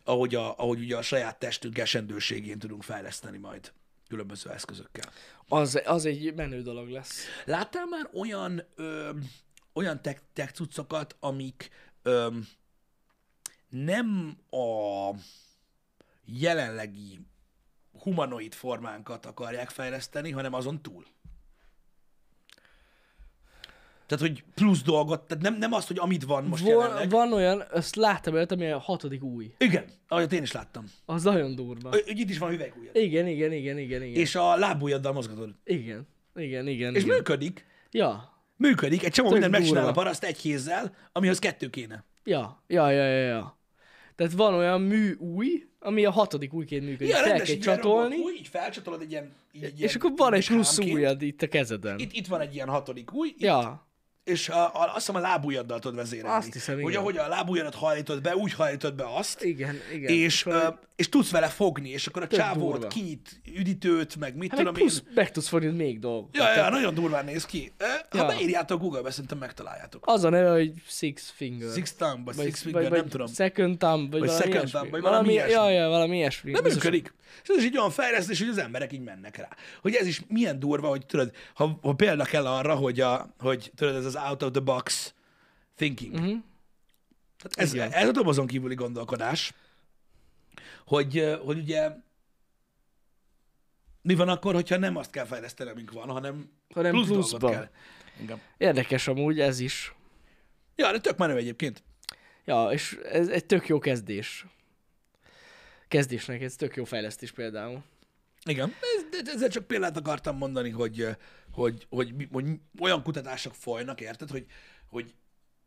Ahogy, a, ahogy ugye a saját testünk esendőségén tudunk fejleszteni majd különböző eszközökkel.
Az, az egy menő dolog lesz.
Láttál már olyan, ö, olyan tech, tech cuccokat, amik ö, nem a jelenlegi humanoid formánkat akarják fejleszteni, hanem azon túl? Tehát, hogy plusz dolgot, tehát nem, nem azt, hogy amit van most Vol,
Van,
jelenleg. Van.
van olyan, azt láttam olyat, ami a hatodik új.
Igen, ahogy én is láttam.
Az nagyon durva.
Ö, Úgy itt is van hüvelykújad.
Igen, igen, igen, igen, igen.
És a lábujjaddal mozgatod.
Igen, igen, igen.
És
igen.
működik.
Ja,
Működik, egy csomó mindent
durva.
megcsinál a paraszt egy kézzel, amihoz kettő kéne.
ja, ja, ja, ja, ja. Tehát van olyan mű új, ami a hatodik újként működik.
Ilyen
Fel
rendes,
kell
így csatolni.
csatolni,
Robot, úgy, így felcsatolod egy ilyen, így, ilyen
és akkor van egy
kis
plusz
hámként.
újad itt a kezeden.
Itt, itt van egy ilyen hatodik új, ja.
Ja,
és a, a, azt hiszem a lábujjaddal tudod vezérelni.
Azt hiszem,
Hogy
igen.
ahogy a lábujjadat hajlítod be, úgy hajlítod be azt,
igen, igen.
és,
akkor-
ö, és tudsz vele fogni, és akkor a csávót
durva.
kinyit üdítőt, meg mit
hát meg
tudom
plusz
én.
meg tudsz fordítani még dolgokat.
Ja, ja, nagyon durván néz ki. Ö, Ha
Ja.
beírjátok Google-be, szerintem megtaláljátok.
Az a neve, hogy Six Finger.
Six Thumb, vagy Six Finger,
vagy, vagy
nem tudom.
Second Thumb, vagy,
Vagy
valami
Second
ilyesmi.
Thumb, vagy valami ilyesmi.
Ja, ja, valami ilyesmi.
Nem
Biztos-
működik. És ez is egy olyan fejlesztés, hogy az emberek így mennek rá. Hogy ez is milyen durva, hogy tudod, ha, ha példa kell arra, hogy, a, hogy tudod, ez az out of the box Hát thinking. Uh-huh. Tehát ez, ez a dobozon kívüli gondolkodás, hogy, ö, hogy ugye mi van akkor, hogyha nem azt kell fejleszteni, amink van, hanem,
Hanem
plusz
pluszba.
dolgot kell. Igen.
Érdekes amúgy ez is.
Ja, de tök menő egyébként.
Ja, és ez egy tök jó kezdés. Kezdésnek ez tök jó fejlesztés például.
Igen. Ez, de ezzel csak példát akartam mondani, hogy, eh, hogy, hogy, mi- hogy olyan kutatások folynak, érted, hogy, hogy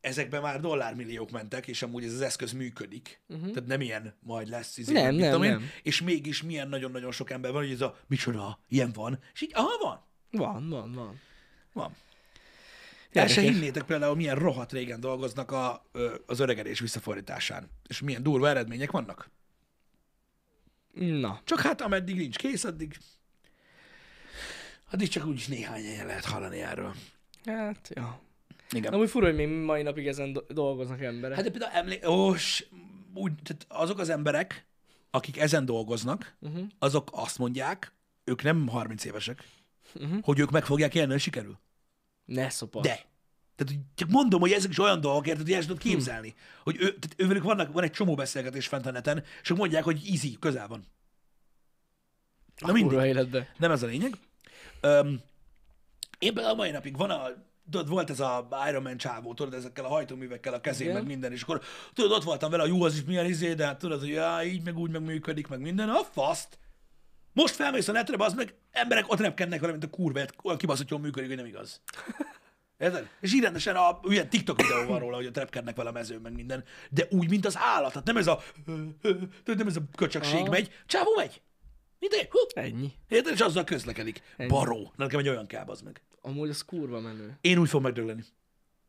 ezekben már dollármilliók mentek, és amúgy ez az eszköz működik. Uh-huh. Tehát nem ilyen majd lesz. Izé,
Mhm. Nem,
mit
nem,
tudom én.
nem.
És mégis milyen nagyon-nagyon sok ember van, hogy ez a micsoda, ilyen van. És így, aha, van.
Van, van, van.
Van. El
Érdekes.
se hinnétek például, milyen rohadt régen dolgoznak a, ö, az öregedés visszafordításán. És milyen durva eredmények vannak.
Na,
Csak hát ameddig nincs kész, addig, addig csak úgyis néhány helyen lehet hallani erről.
hát, ja.
Igen.
Na, úgy fura, hogy még mai napig ezen do- dolgoznak emberek.
Hát
Hát,
de például emlé... Ós, úgy, tehát azok az emberek, akik ezen dolgoznak, uh-huh. azok azt mondják, ők nem 30 évesek, uh-huh. hogy ők meg fogják élni, hogy sikerül.
ne szopas.
De. Tehát hogy csak mondom, hogy ezek is olyan dolgok, érted, hogy el sem tudod képzelni. Hogy ő, tehát ővelük vannak, van egy csomó beszélgetés fent a neten, és ők mondják, hogy easy, közel van. Na mindig.
Kurva életbe.
Nem ez a lényeg. Öm, én például a mai napig van a tudod, volt ez a Iron Man csávó, tudod, ezekkel a hajtóművekkel a kezén,
Igen.
meg minden, és akkor tudod, ott voltam vele, a jó, az is milyen izé, de hát tudod, hogy já, így, meg úgy, meg működik, meg minden, a faszt. Most felmész a netre, az meg emberek ott repkednek vele, mint a kurvet, olyan kibaszott jól működik, hogy nem
*laughs*
igaz. Érted? És így rendesen a ilyen TikTok videó van róla, hogy ott repkednek vele a mezőn, meg minden, de úgy, mint az állat. Tehát nem ez a, tudod, nem ez a köcsökség
Aha.
megy, csávó megy. Mint egy, hú,
Ennyi.
Érted? És azzal közlekedik. Baró. Nekem egy olyan káb az meg.
Amúgy az kurva menő.
Én úgy fogom megdögleni.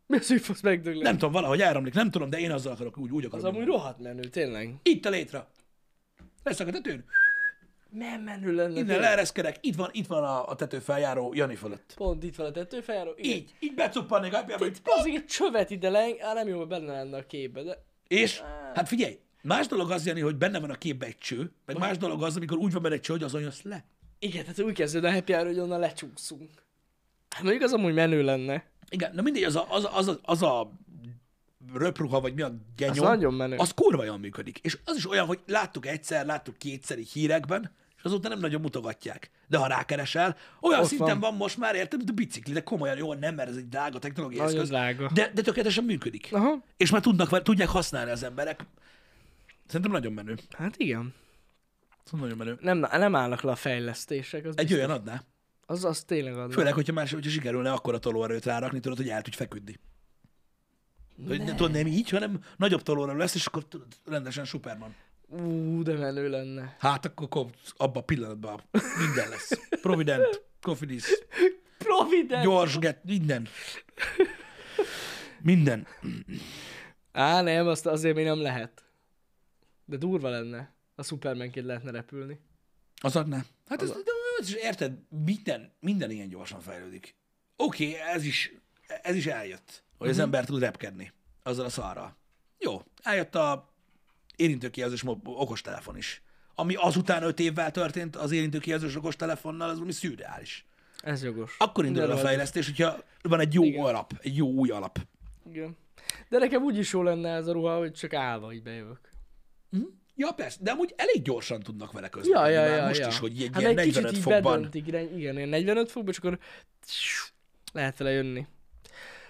Mi az, hogy fogsz megdögleni?
Nem tudom, valahogy áramlik, nem tudom, de én azzal akarok, úgy, úgy
Az
akarok.
amúgy rohadt menő, tényleg.
Itt a létre. Lesz a tetőn.
Nem menő lenne.
Innen
tényleg.
leereszkedek. Itt van, itt van a, a tető feljáró Jani fölött.
Pont itt van a tetőfejáról. Igen.
Így, így becuppannék apjába,
Itt az egy csövet ide leng, á, nem jó, hogy benne lenne a képbe, de...
És hát figyelj, más dolog az, Jani, hogy benne van a képbe egy cső, meg más dolog az, amikor úgy van benne egy cső, hogy azon jössz le.
Igen, tehát úgy kezdőd a happy hour, hogy onnan lecsúszunk. Hát mondjuk az amúgy menő lenne.
Igen, na mindegy, az a, az a, az a, az a röpruha, vagy mi a genyó,
nagyon menő.
az kurva jól működik. És az is olyan, hogy láttuk egyszer, láttuk kétszer így hírekben, és azóta nem nagyon mutogatják. De ha rákeresel, olyan
Ott
szinten van.
van.
most már, érted, mint a bicikli, de komolyan jó, nem, mert ez egy drága technológiai
Nagyon
eszköz.
drága.
De, de tökéletesen működik.
Aha.
És már tudnak, tudják használni az emberek. Szerintem nagyon menő.
Hát igen.
Szerintem nagyon menő.
Nem, nem állnak le a fejlesztések, az,
Egy olyan adná.
az, az tényleg adna.
Főleg, hogyha más, hogyha sikerülne akkora tolóerőt rárakni, tudod, hogy el tudj feküdni. Hogy ne. tudod, nem így, hanem nagyobb tolóerő lesz, és akkor tudod, rendesen Superman.
Ú, de menő lenne.
Hát akkor kopsz, abban a pillanatban minden lesz. *laughs* Provident, Cofidis,
Provident! Jó.
gyors, get, minden. Minden.
Á, nem, azt azért még nem lehet. De durva lenne. A Supermanként lehetne repülni.
Az adná. Hát ez, de ez is érted, minden, minden ilyen gyorsan fejlődik. Oké, okay, ez is, ez is eljött, hogy az ember tud repkedni azzal a szarral. Jó, eljött a érintőkijelzős mo- okostelefon is. Ami azután öt évvel történt az érintőkijelzős okostelefonnal, az valami szürreális.
Ez jogos.
Akkor indul el a
Mindenhol.
fejlesztés, hogyha van egy jó Igen. alap, egy jó új alap.
Igen. De nekem úgy is jó lenne ez a ruha, hogy csak állva így bejövök.
Ja, persze, de amúgy elég gyorsan tudnak vele közlekedni. már most is, hogy Hát egy ilyen
Hát egy kicsit
45
így
fokban.
bedöntik, irány- igen, ilyen 45 fokban, és akkor lehet vele jönni.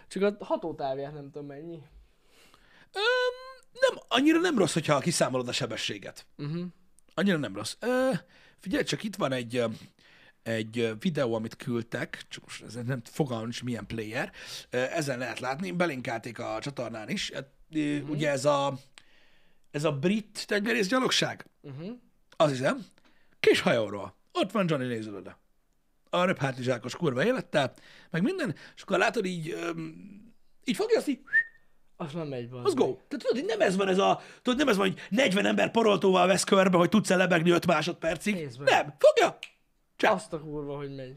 Csak a hatótávját nem tudom mennyi.
Öm, nem, annyira nem rossz, hogyha kiszámolod a sebességet. Uh-huh. Annyira nem rossz. Ö, figyelj, csak itt van egy, ö, egy ö, videó, amit küldtek, csak most ez nem fogalmam is milyen player. Ö, ezen lehet látni, belinkálték a csatornán is. Hát, ö, Ugye ez a, ez a brit tengerész gyalogság? Uh-huh. Az hiszem. Kis hajóról. Ott van Johnny nézőlőde. A röbb hátizsákos kurva élettel, meg minden, és akkor látod így, öm, így fogja azt így,
Az nem megy van.
az go. Tehát tudod, hogy nem ez van ez a, tudod, nem ez van, hogy 40 ember paroltóval vesz körbe, hogy tudsz lebegni 5 másodpercig.
Nézd meg.
nem, fogja. Csá.
Azt a kurva, hogy megy.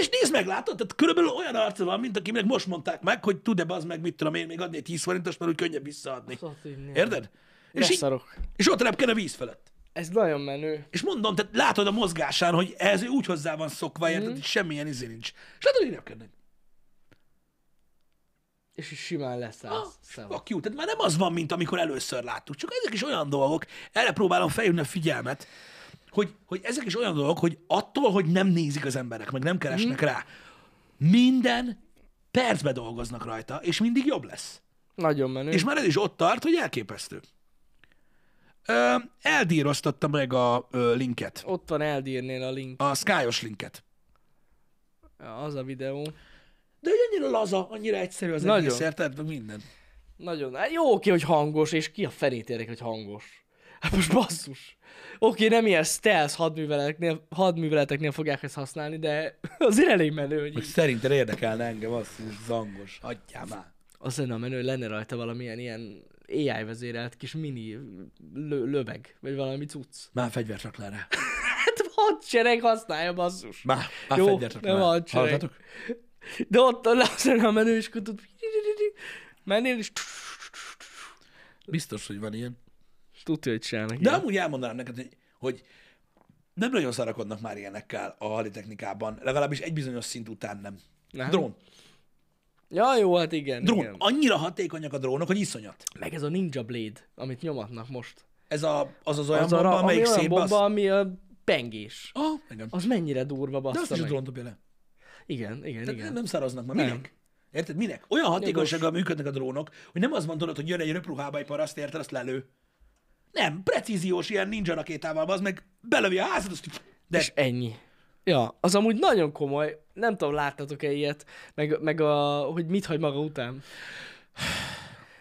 És nézd meg, látod? Tehát körülbelül olyan arca van, mint akinek most mondták meg, hogy tud-e az meg, mit tudom én, még adni egy 10 forintos, mert úgy könnyebb visszaadni.
Azt így nézd.
Érted? És, így,
Beszarok.
és ott repked a víz felett.
Ez nagyon menő.
És mondom, tehát látod a mozgásán, hogy ez ő úgy hozzá
Mhm.
van szokva, érted, hogy semmilyen izé nincs. És látod, hogy repkednek.
és is simán lesz száz szava.
Ah, Fuck you. Tehát már nem az van, mint amikor először láttuk. Csak ezek is olyan dolgok, erre próbálom felhívni a figyelmet, hogy, hogy ezek is olyan dolgok, hogy attól, hogy nem nézik az emberek, meg nem keresnek rá, minden percbe dolgoznak rajta, és mindig jobb lesz.
Nagyon menő.
És már ez is ott tart, hogy elképesztő. Ö, eldíroztatta meg a ö, linket,
Ott van eldírnél a link,
a Skyos linket.
az a videó.
De hogy annyira laza, annyira egyszerű az
Nagyon.
egész, érted? Meg Minden.
Nagyon, hát jó oké, hogy hangos, és ki a fenét érdekel, hogy hangos? Hát most basszus. Oké, nem ilyen stealth hadműveleteknél, hadműveleteknél fogják ezt használni, de *laughs* azért elég menő, hogy így-
Szerinted érdekelne engem az, hogy zangos. Hagyjál már.
az lenne a menő, hogy lenne rajta valamilyen ilyen AI vezérelt kis mini lö- löveg, vagy valami cucc.
Már fegyvert rak le rá.
Hát hadsereg használja, basszus.
Már, már
Jó,
fegyvert rak le
nem
rá.
hadsereg.
Hallottatok?
De ott az lenne a menő, és akkor tud mennél, és
Biztos, hogy van ilyen.
tudja, hogy csinálnak.
De
ilyet.
amúgy elmondanám neked, hogy, hogy nem nagyon szarakodnak már ilyenekkel a haditechnikában, legalábbis egy bizonyos szint után nem.
Nem?
Drón.
Ja, jó, hát igen.
Drón.
igen.
Annyira hatékonyak a drónok, hogy iszonyat.
Meg ez a Ninja Blade, amit nyomatnak most.
Ez a, az az olyan
Az
az bomba,
a, ami
amelyik
olyan
szép
bomba,
bomba... az...
ami a pengés.
Ah, igen.
Az mennyire durva
De azt
bassza
is a
meg.
drón dobja le.
Igen, igen,
Tehát
igen.
nem, nem szaraznak már. Minek? Érted? Minek? Olyan hatékonysággal működnek a drónok, hogy nem az van tudod, hogy jön egy röpruhába egy paraszt, érted, azt lelő. Nem, precíziós ilyen ninja rakétával, az meg belövi a házat, azt de
És ennyi. Ja, az amúgy nagyon komoly. Nem tudom, láttatok-e ilyet, meg, meg a, hogy mit hagy maga után.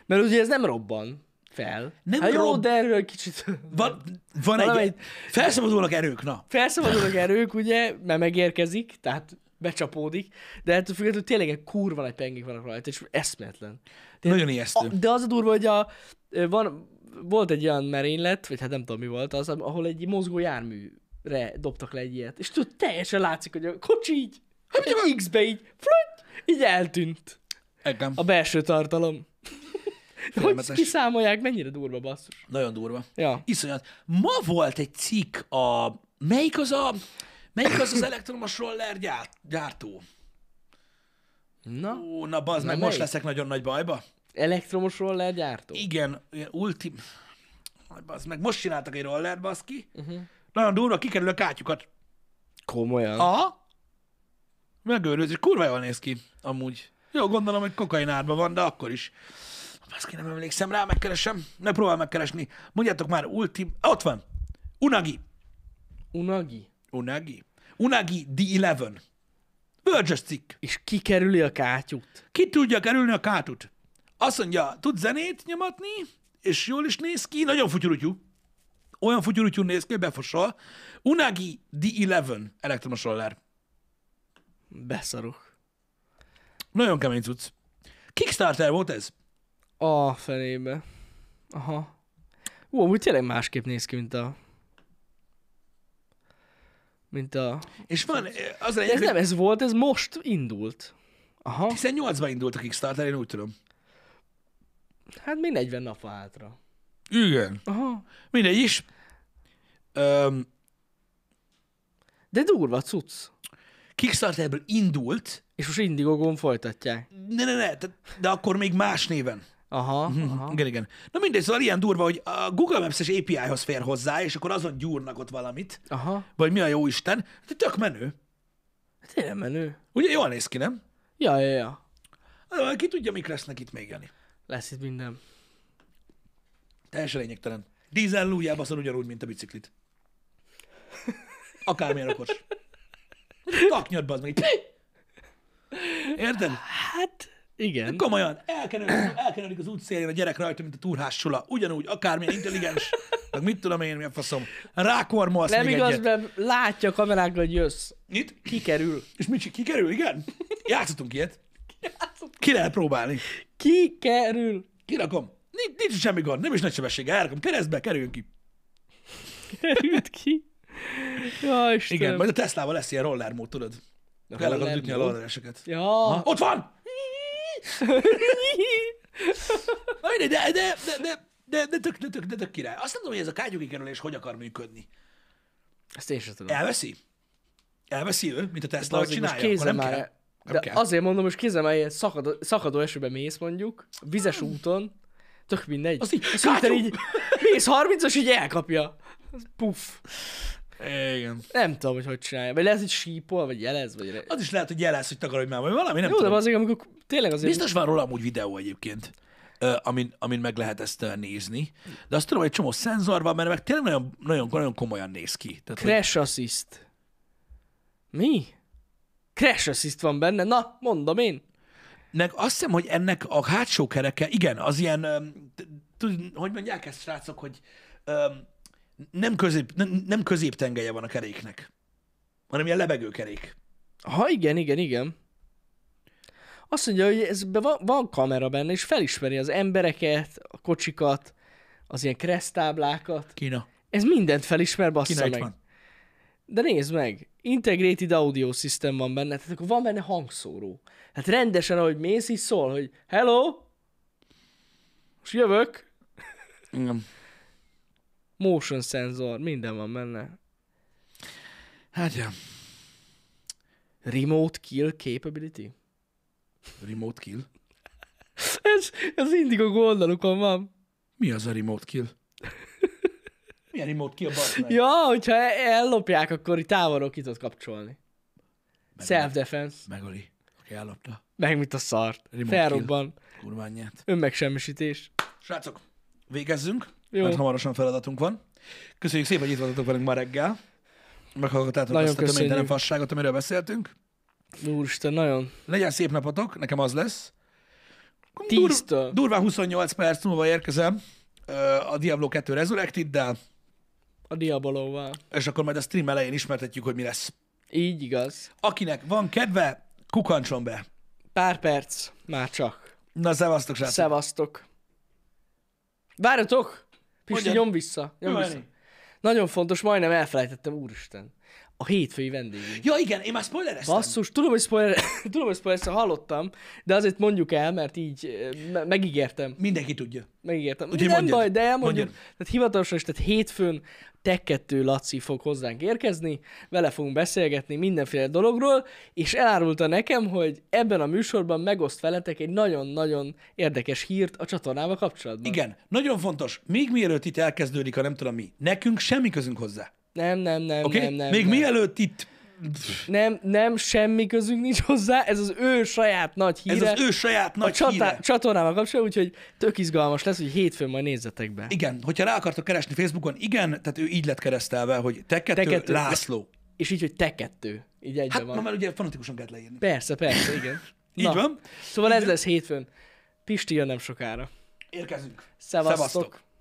Mert ugye ez nem robban fel.
Nem
hát jó,
rob-
de erről kicsit...
van, van egy...
Valamelyik-
Felszabadulnak erők, na.
Felszabadulnak erők, ugye, mert megérkezik, tehát becsapódik, de ettől függetlenül tényleg egy kurva nagy pengék vannak rajta, és eszméletlen.
Nagyon ijesztő.
A, de az a durva, hogy a, van, volt egy olyan merénylet, vagy hát nem tudom mi volt az, ahol egy mozgó járműre dobtak le egy ilyet. És tudod, teljesen látszik, hogy a kocsi így, egy X-be így, flöty, így eltűnt
Engem.
a belső *laughs* tartalom. hogy
Félelmetes.
kiszámolják, mennyire durva basszus.
Nagyon durva.
Ja.
Iszonyat. Ma volt egy cikk a... Melyik az a... Melyik az az elektromos roller gyár- gyártó?
Na,
Ó, na bazd, meg most
melyik?
leszek nagyon nagy bajba.
elektromos roller gyártó.
Igen, ilyen ultim... Aj, Bazd meg, most csináltak egy roller, baszki.
Mhm.
Uh-huh. Nagyon durva, kikerül a kátyukat.
Komolyan.
Aha. Megőrülsz, és kurva jól néz ki, amúgy. Jó, gondolom, hogy kokainárban van, de akkor is. Baszki, nem emlékszem rá, megkeresem. Ne próbál megkeresni. Mondjátok már, ultim... Ott van. Unagi.
Unagi.
Unagi? Unagi the Eleven. Bölcsös cikk.
És kikerüli a kátyút.
Ki tudja kerülni a kátut? Azt mondja, tud zenét nyomatni, és jól is néz ki, nagyon futyurutyú. Olyan futyurutyú néz ki, hogy befosol. Unagi the Eleven elektromos roller.
Beszarok.
Nagyon kemény cucc. Kickstarter volt ez?
A fenébe. Aha. Ú, amúgy tényleg másképp néz ki, mint a... Mint a...
És van, eh, az
De ez
lényeg,
nem
hogy
ez volt, ez most indult. Aha.
18-ban indult a Kickstarter, én úgy tudom.
Hát még 40 nap van hátra.
Igen.
Aha.
Mindegy is. Öm,
De durva cucc.
Kickstarterből indult,
És most Indiegogon folytatják.
ne, ne, ne, tehát- de akkor még más néven.
Aha, aha.
Igen, igen. Na mindegy, szóval ilyen durva, hogy a Google Maps-es API-hoz fér hozzá, és akkor azon gyúrnak ott valamit,
Aha.
vagy mi a jó Isten. De tök menő.
Hát Tényleg menő.
Ugye jól néz ki, nem?
Ja, ja, ja.
Ah, Ki tudja, mik lesznek itt még, Jani.
Lesz itt minden.
Teljesen lényegtelen. Dízel lújjába szor ugyanúgy, mint a biciklit. Akármilyen okos. Taknyod, bazd meg. így. Érted?
Hát, igen.
Komolyan, elkenődik, elkenődik az útszélén a gyerek rajta, mint a túrhás sula. Ugyanúgy, akármilyen intelligens, meg mit tudom én, mi a faszom. Rákormolsz
Nem
még
igaz,
egyet.
mert látja a kamerákkal, hogy jössz.
Mit?
Kikerül.
És mit kikerül, igen? Játszottunk ilyet. Ki lehet próbálni. *laughs*
Kikerül.
Kirakom. Nincs, nincs semmi gond, nem is nagy sebesség. Elrakom keresztbe, kerüljön ki.
került ki. Ja, Istenem.
Igen, majd a Teslával lesz ilyen roller mód, tudod? Kell akarod
roller
ütni a
mód?
rollereseket.
Ja.
Ott van! Na mindegy, de, de, de, de, de, de, tök, de, tök, de tök király. Azt nem tudom, hogy ez a kágyú kikerülés hogy akar működni.
*laughs* Ezt én sem tudom.
Elveszi? Elveszi ő, mint a Tesla, hogy
Bazzik, most
csinálja, akkor
kézzel
nem kell.
már De
kell.
azért mondom, hogy kézemeljen szakadó, szakadó esőbe mész mondjuk, vizes úton, tök mindegy.
Az így,
hirtelen
kátyú!
így mész 30 így elkapja. Az Puff.
Igen.
Nem tudom, hogy hogy csinálja. Vagy lehet, hogy sípol, vagy jelez, vagy...
Az is lehet, hogy jelez, hogy takarodj már, vagy valami, nem
Jó, de
tudom.
azért, amikor tényleg azért...
Biztos van róla amúgy videó egyébként, ö, amin, amin meg lehet ezt ö, nézni. De azt tudom, hogy egy csomó szenzor van, mert meg tényleg nagyon, nagyon, nagyon komolyan néz ki. Tehát, hogy
Crash Assist. Mi? Crash Assist van benne? Na, mondom én.
meg azt hiszem, hogy ennek a hátsó kereke, igen, az ilyen, öm, t- tud- hogy mondják ezt, srácok, hogy öm, nem, közép, nem, nem középtengelye van a keréknek, hanem ilyen lebegőkerék.
Ha igen, igen, igen. Azt mondja, hogy ez be van, van kamera benne, és felismeri az embereket, a kocsikat, az ilyen kresztáblákat.
Kína.
Ez mindent felismer, bassza
Kína itt
meg.
van.
De nézd meg, integrated audio system van benne, tehát akkor van benne hangszóró. Hát rendesen, ahogy mész, így szól, hogy hello, most jövök,
Igen.
motion sensor, minden van benne.
Hát, ja.
Remote kill capability?
Remote kill.
Ez, ez mindig a oldalukon van.
Mi az a remote kill? Milyen remote kill, bazd meg?
Ja, hogyha e- ellopják, akkor itt távolról ki tudod kapcsolni. Self-defense.
Megöli, aki ellopta
Meg mit a szart.
Remote
Felrobban.
kurványját.
Önmegsemmisítés.
Srácok, végezzünk,
Jó.
Jó. mert hamarosan feladatunk van. Köszönjük szépen, hogy itt voltatok velünk ma reggel. Meghallgattátok
Nagyon
azt a
köszönjük.
töménytelen fasságot, amiről beszéltünk.
Úristen, nagyon.
Legyen szép napotok, nekem az lesz.
Tíztől.
durván 28 perc múlva érkezem ö, a Diablo 2 Resurrected-del,
A diabolóval.
és akkor majd a stream elején ismertetjük, hogy mi lesz.
Így igaz.
Akinek van kedve, kukancson be.
Pár perc. Már csak.
Na, szevasztok, srácok!
Szevasztok. Várjatok! Pisti,
Hogyan?
nyom vissza. Nyom
Jó,
vissza.
Jani.
Nagyon fontos, majdnem elfelejtettem, úristen. A hétfői vendégünk.
Ja, igen, én már spoilereztem.
Basszus, tudom, hogy spoiler, *laughs* tudom, hogy spoiler hallottam, de azért mondjuk el, mert így eh, me- megígértem.
Mindenki tudja.
Megígértem.
Úgyhogy
Úgyhogy nem
mondjad.
baj, de elmondjuk.
Mondjad.
Tehát hivatalosan is, tehát hétfőn Tech 2 Laci fog hozzánk érkezni, vele fogunk beszélgetni mindenféle dologról, és elárulta nekem, hogy ebben a műsorban megoszt veletek egy nagyon-nagyon érdekes hírt a csatornával kapcsolatban.
Igen, nagyon fontos, még mielőtt itt elkezdődik a nem tudom mi, nekünk semmi közünk hozzá.
Nem, nem, nem,
Oké?
nem, nem.
még
nem.
mielőtt itt,
Nem, nem, semmi közünk nincs hozzá, ez az ő saját nagy
ez
híre.
az ő saját
a
nagy
csatá-
híre.
csatornával kapcsolatban, úgyhogy tök izgalmas lesz, hogy hétfőn majd nézzetek be.
Igen, hogyha rá akartok keresni Facebookon, igen, tehát ő így lett keresztelve, hogy te kettő,
Te kettő-
László.
És így, hogy te kettő. Így egyben
Hát
van.
ma már ugye fanatikusan kellett leírni.
Persze, persze, igen.
Így van.
Szóval ez lesz hétfőn. Pisti jön nem sokára.
Érkezünk.
Szevasztok.
Szevasztok.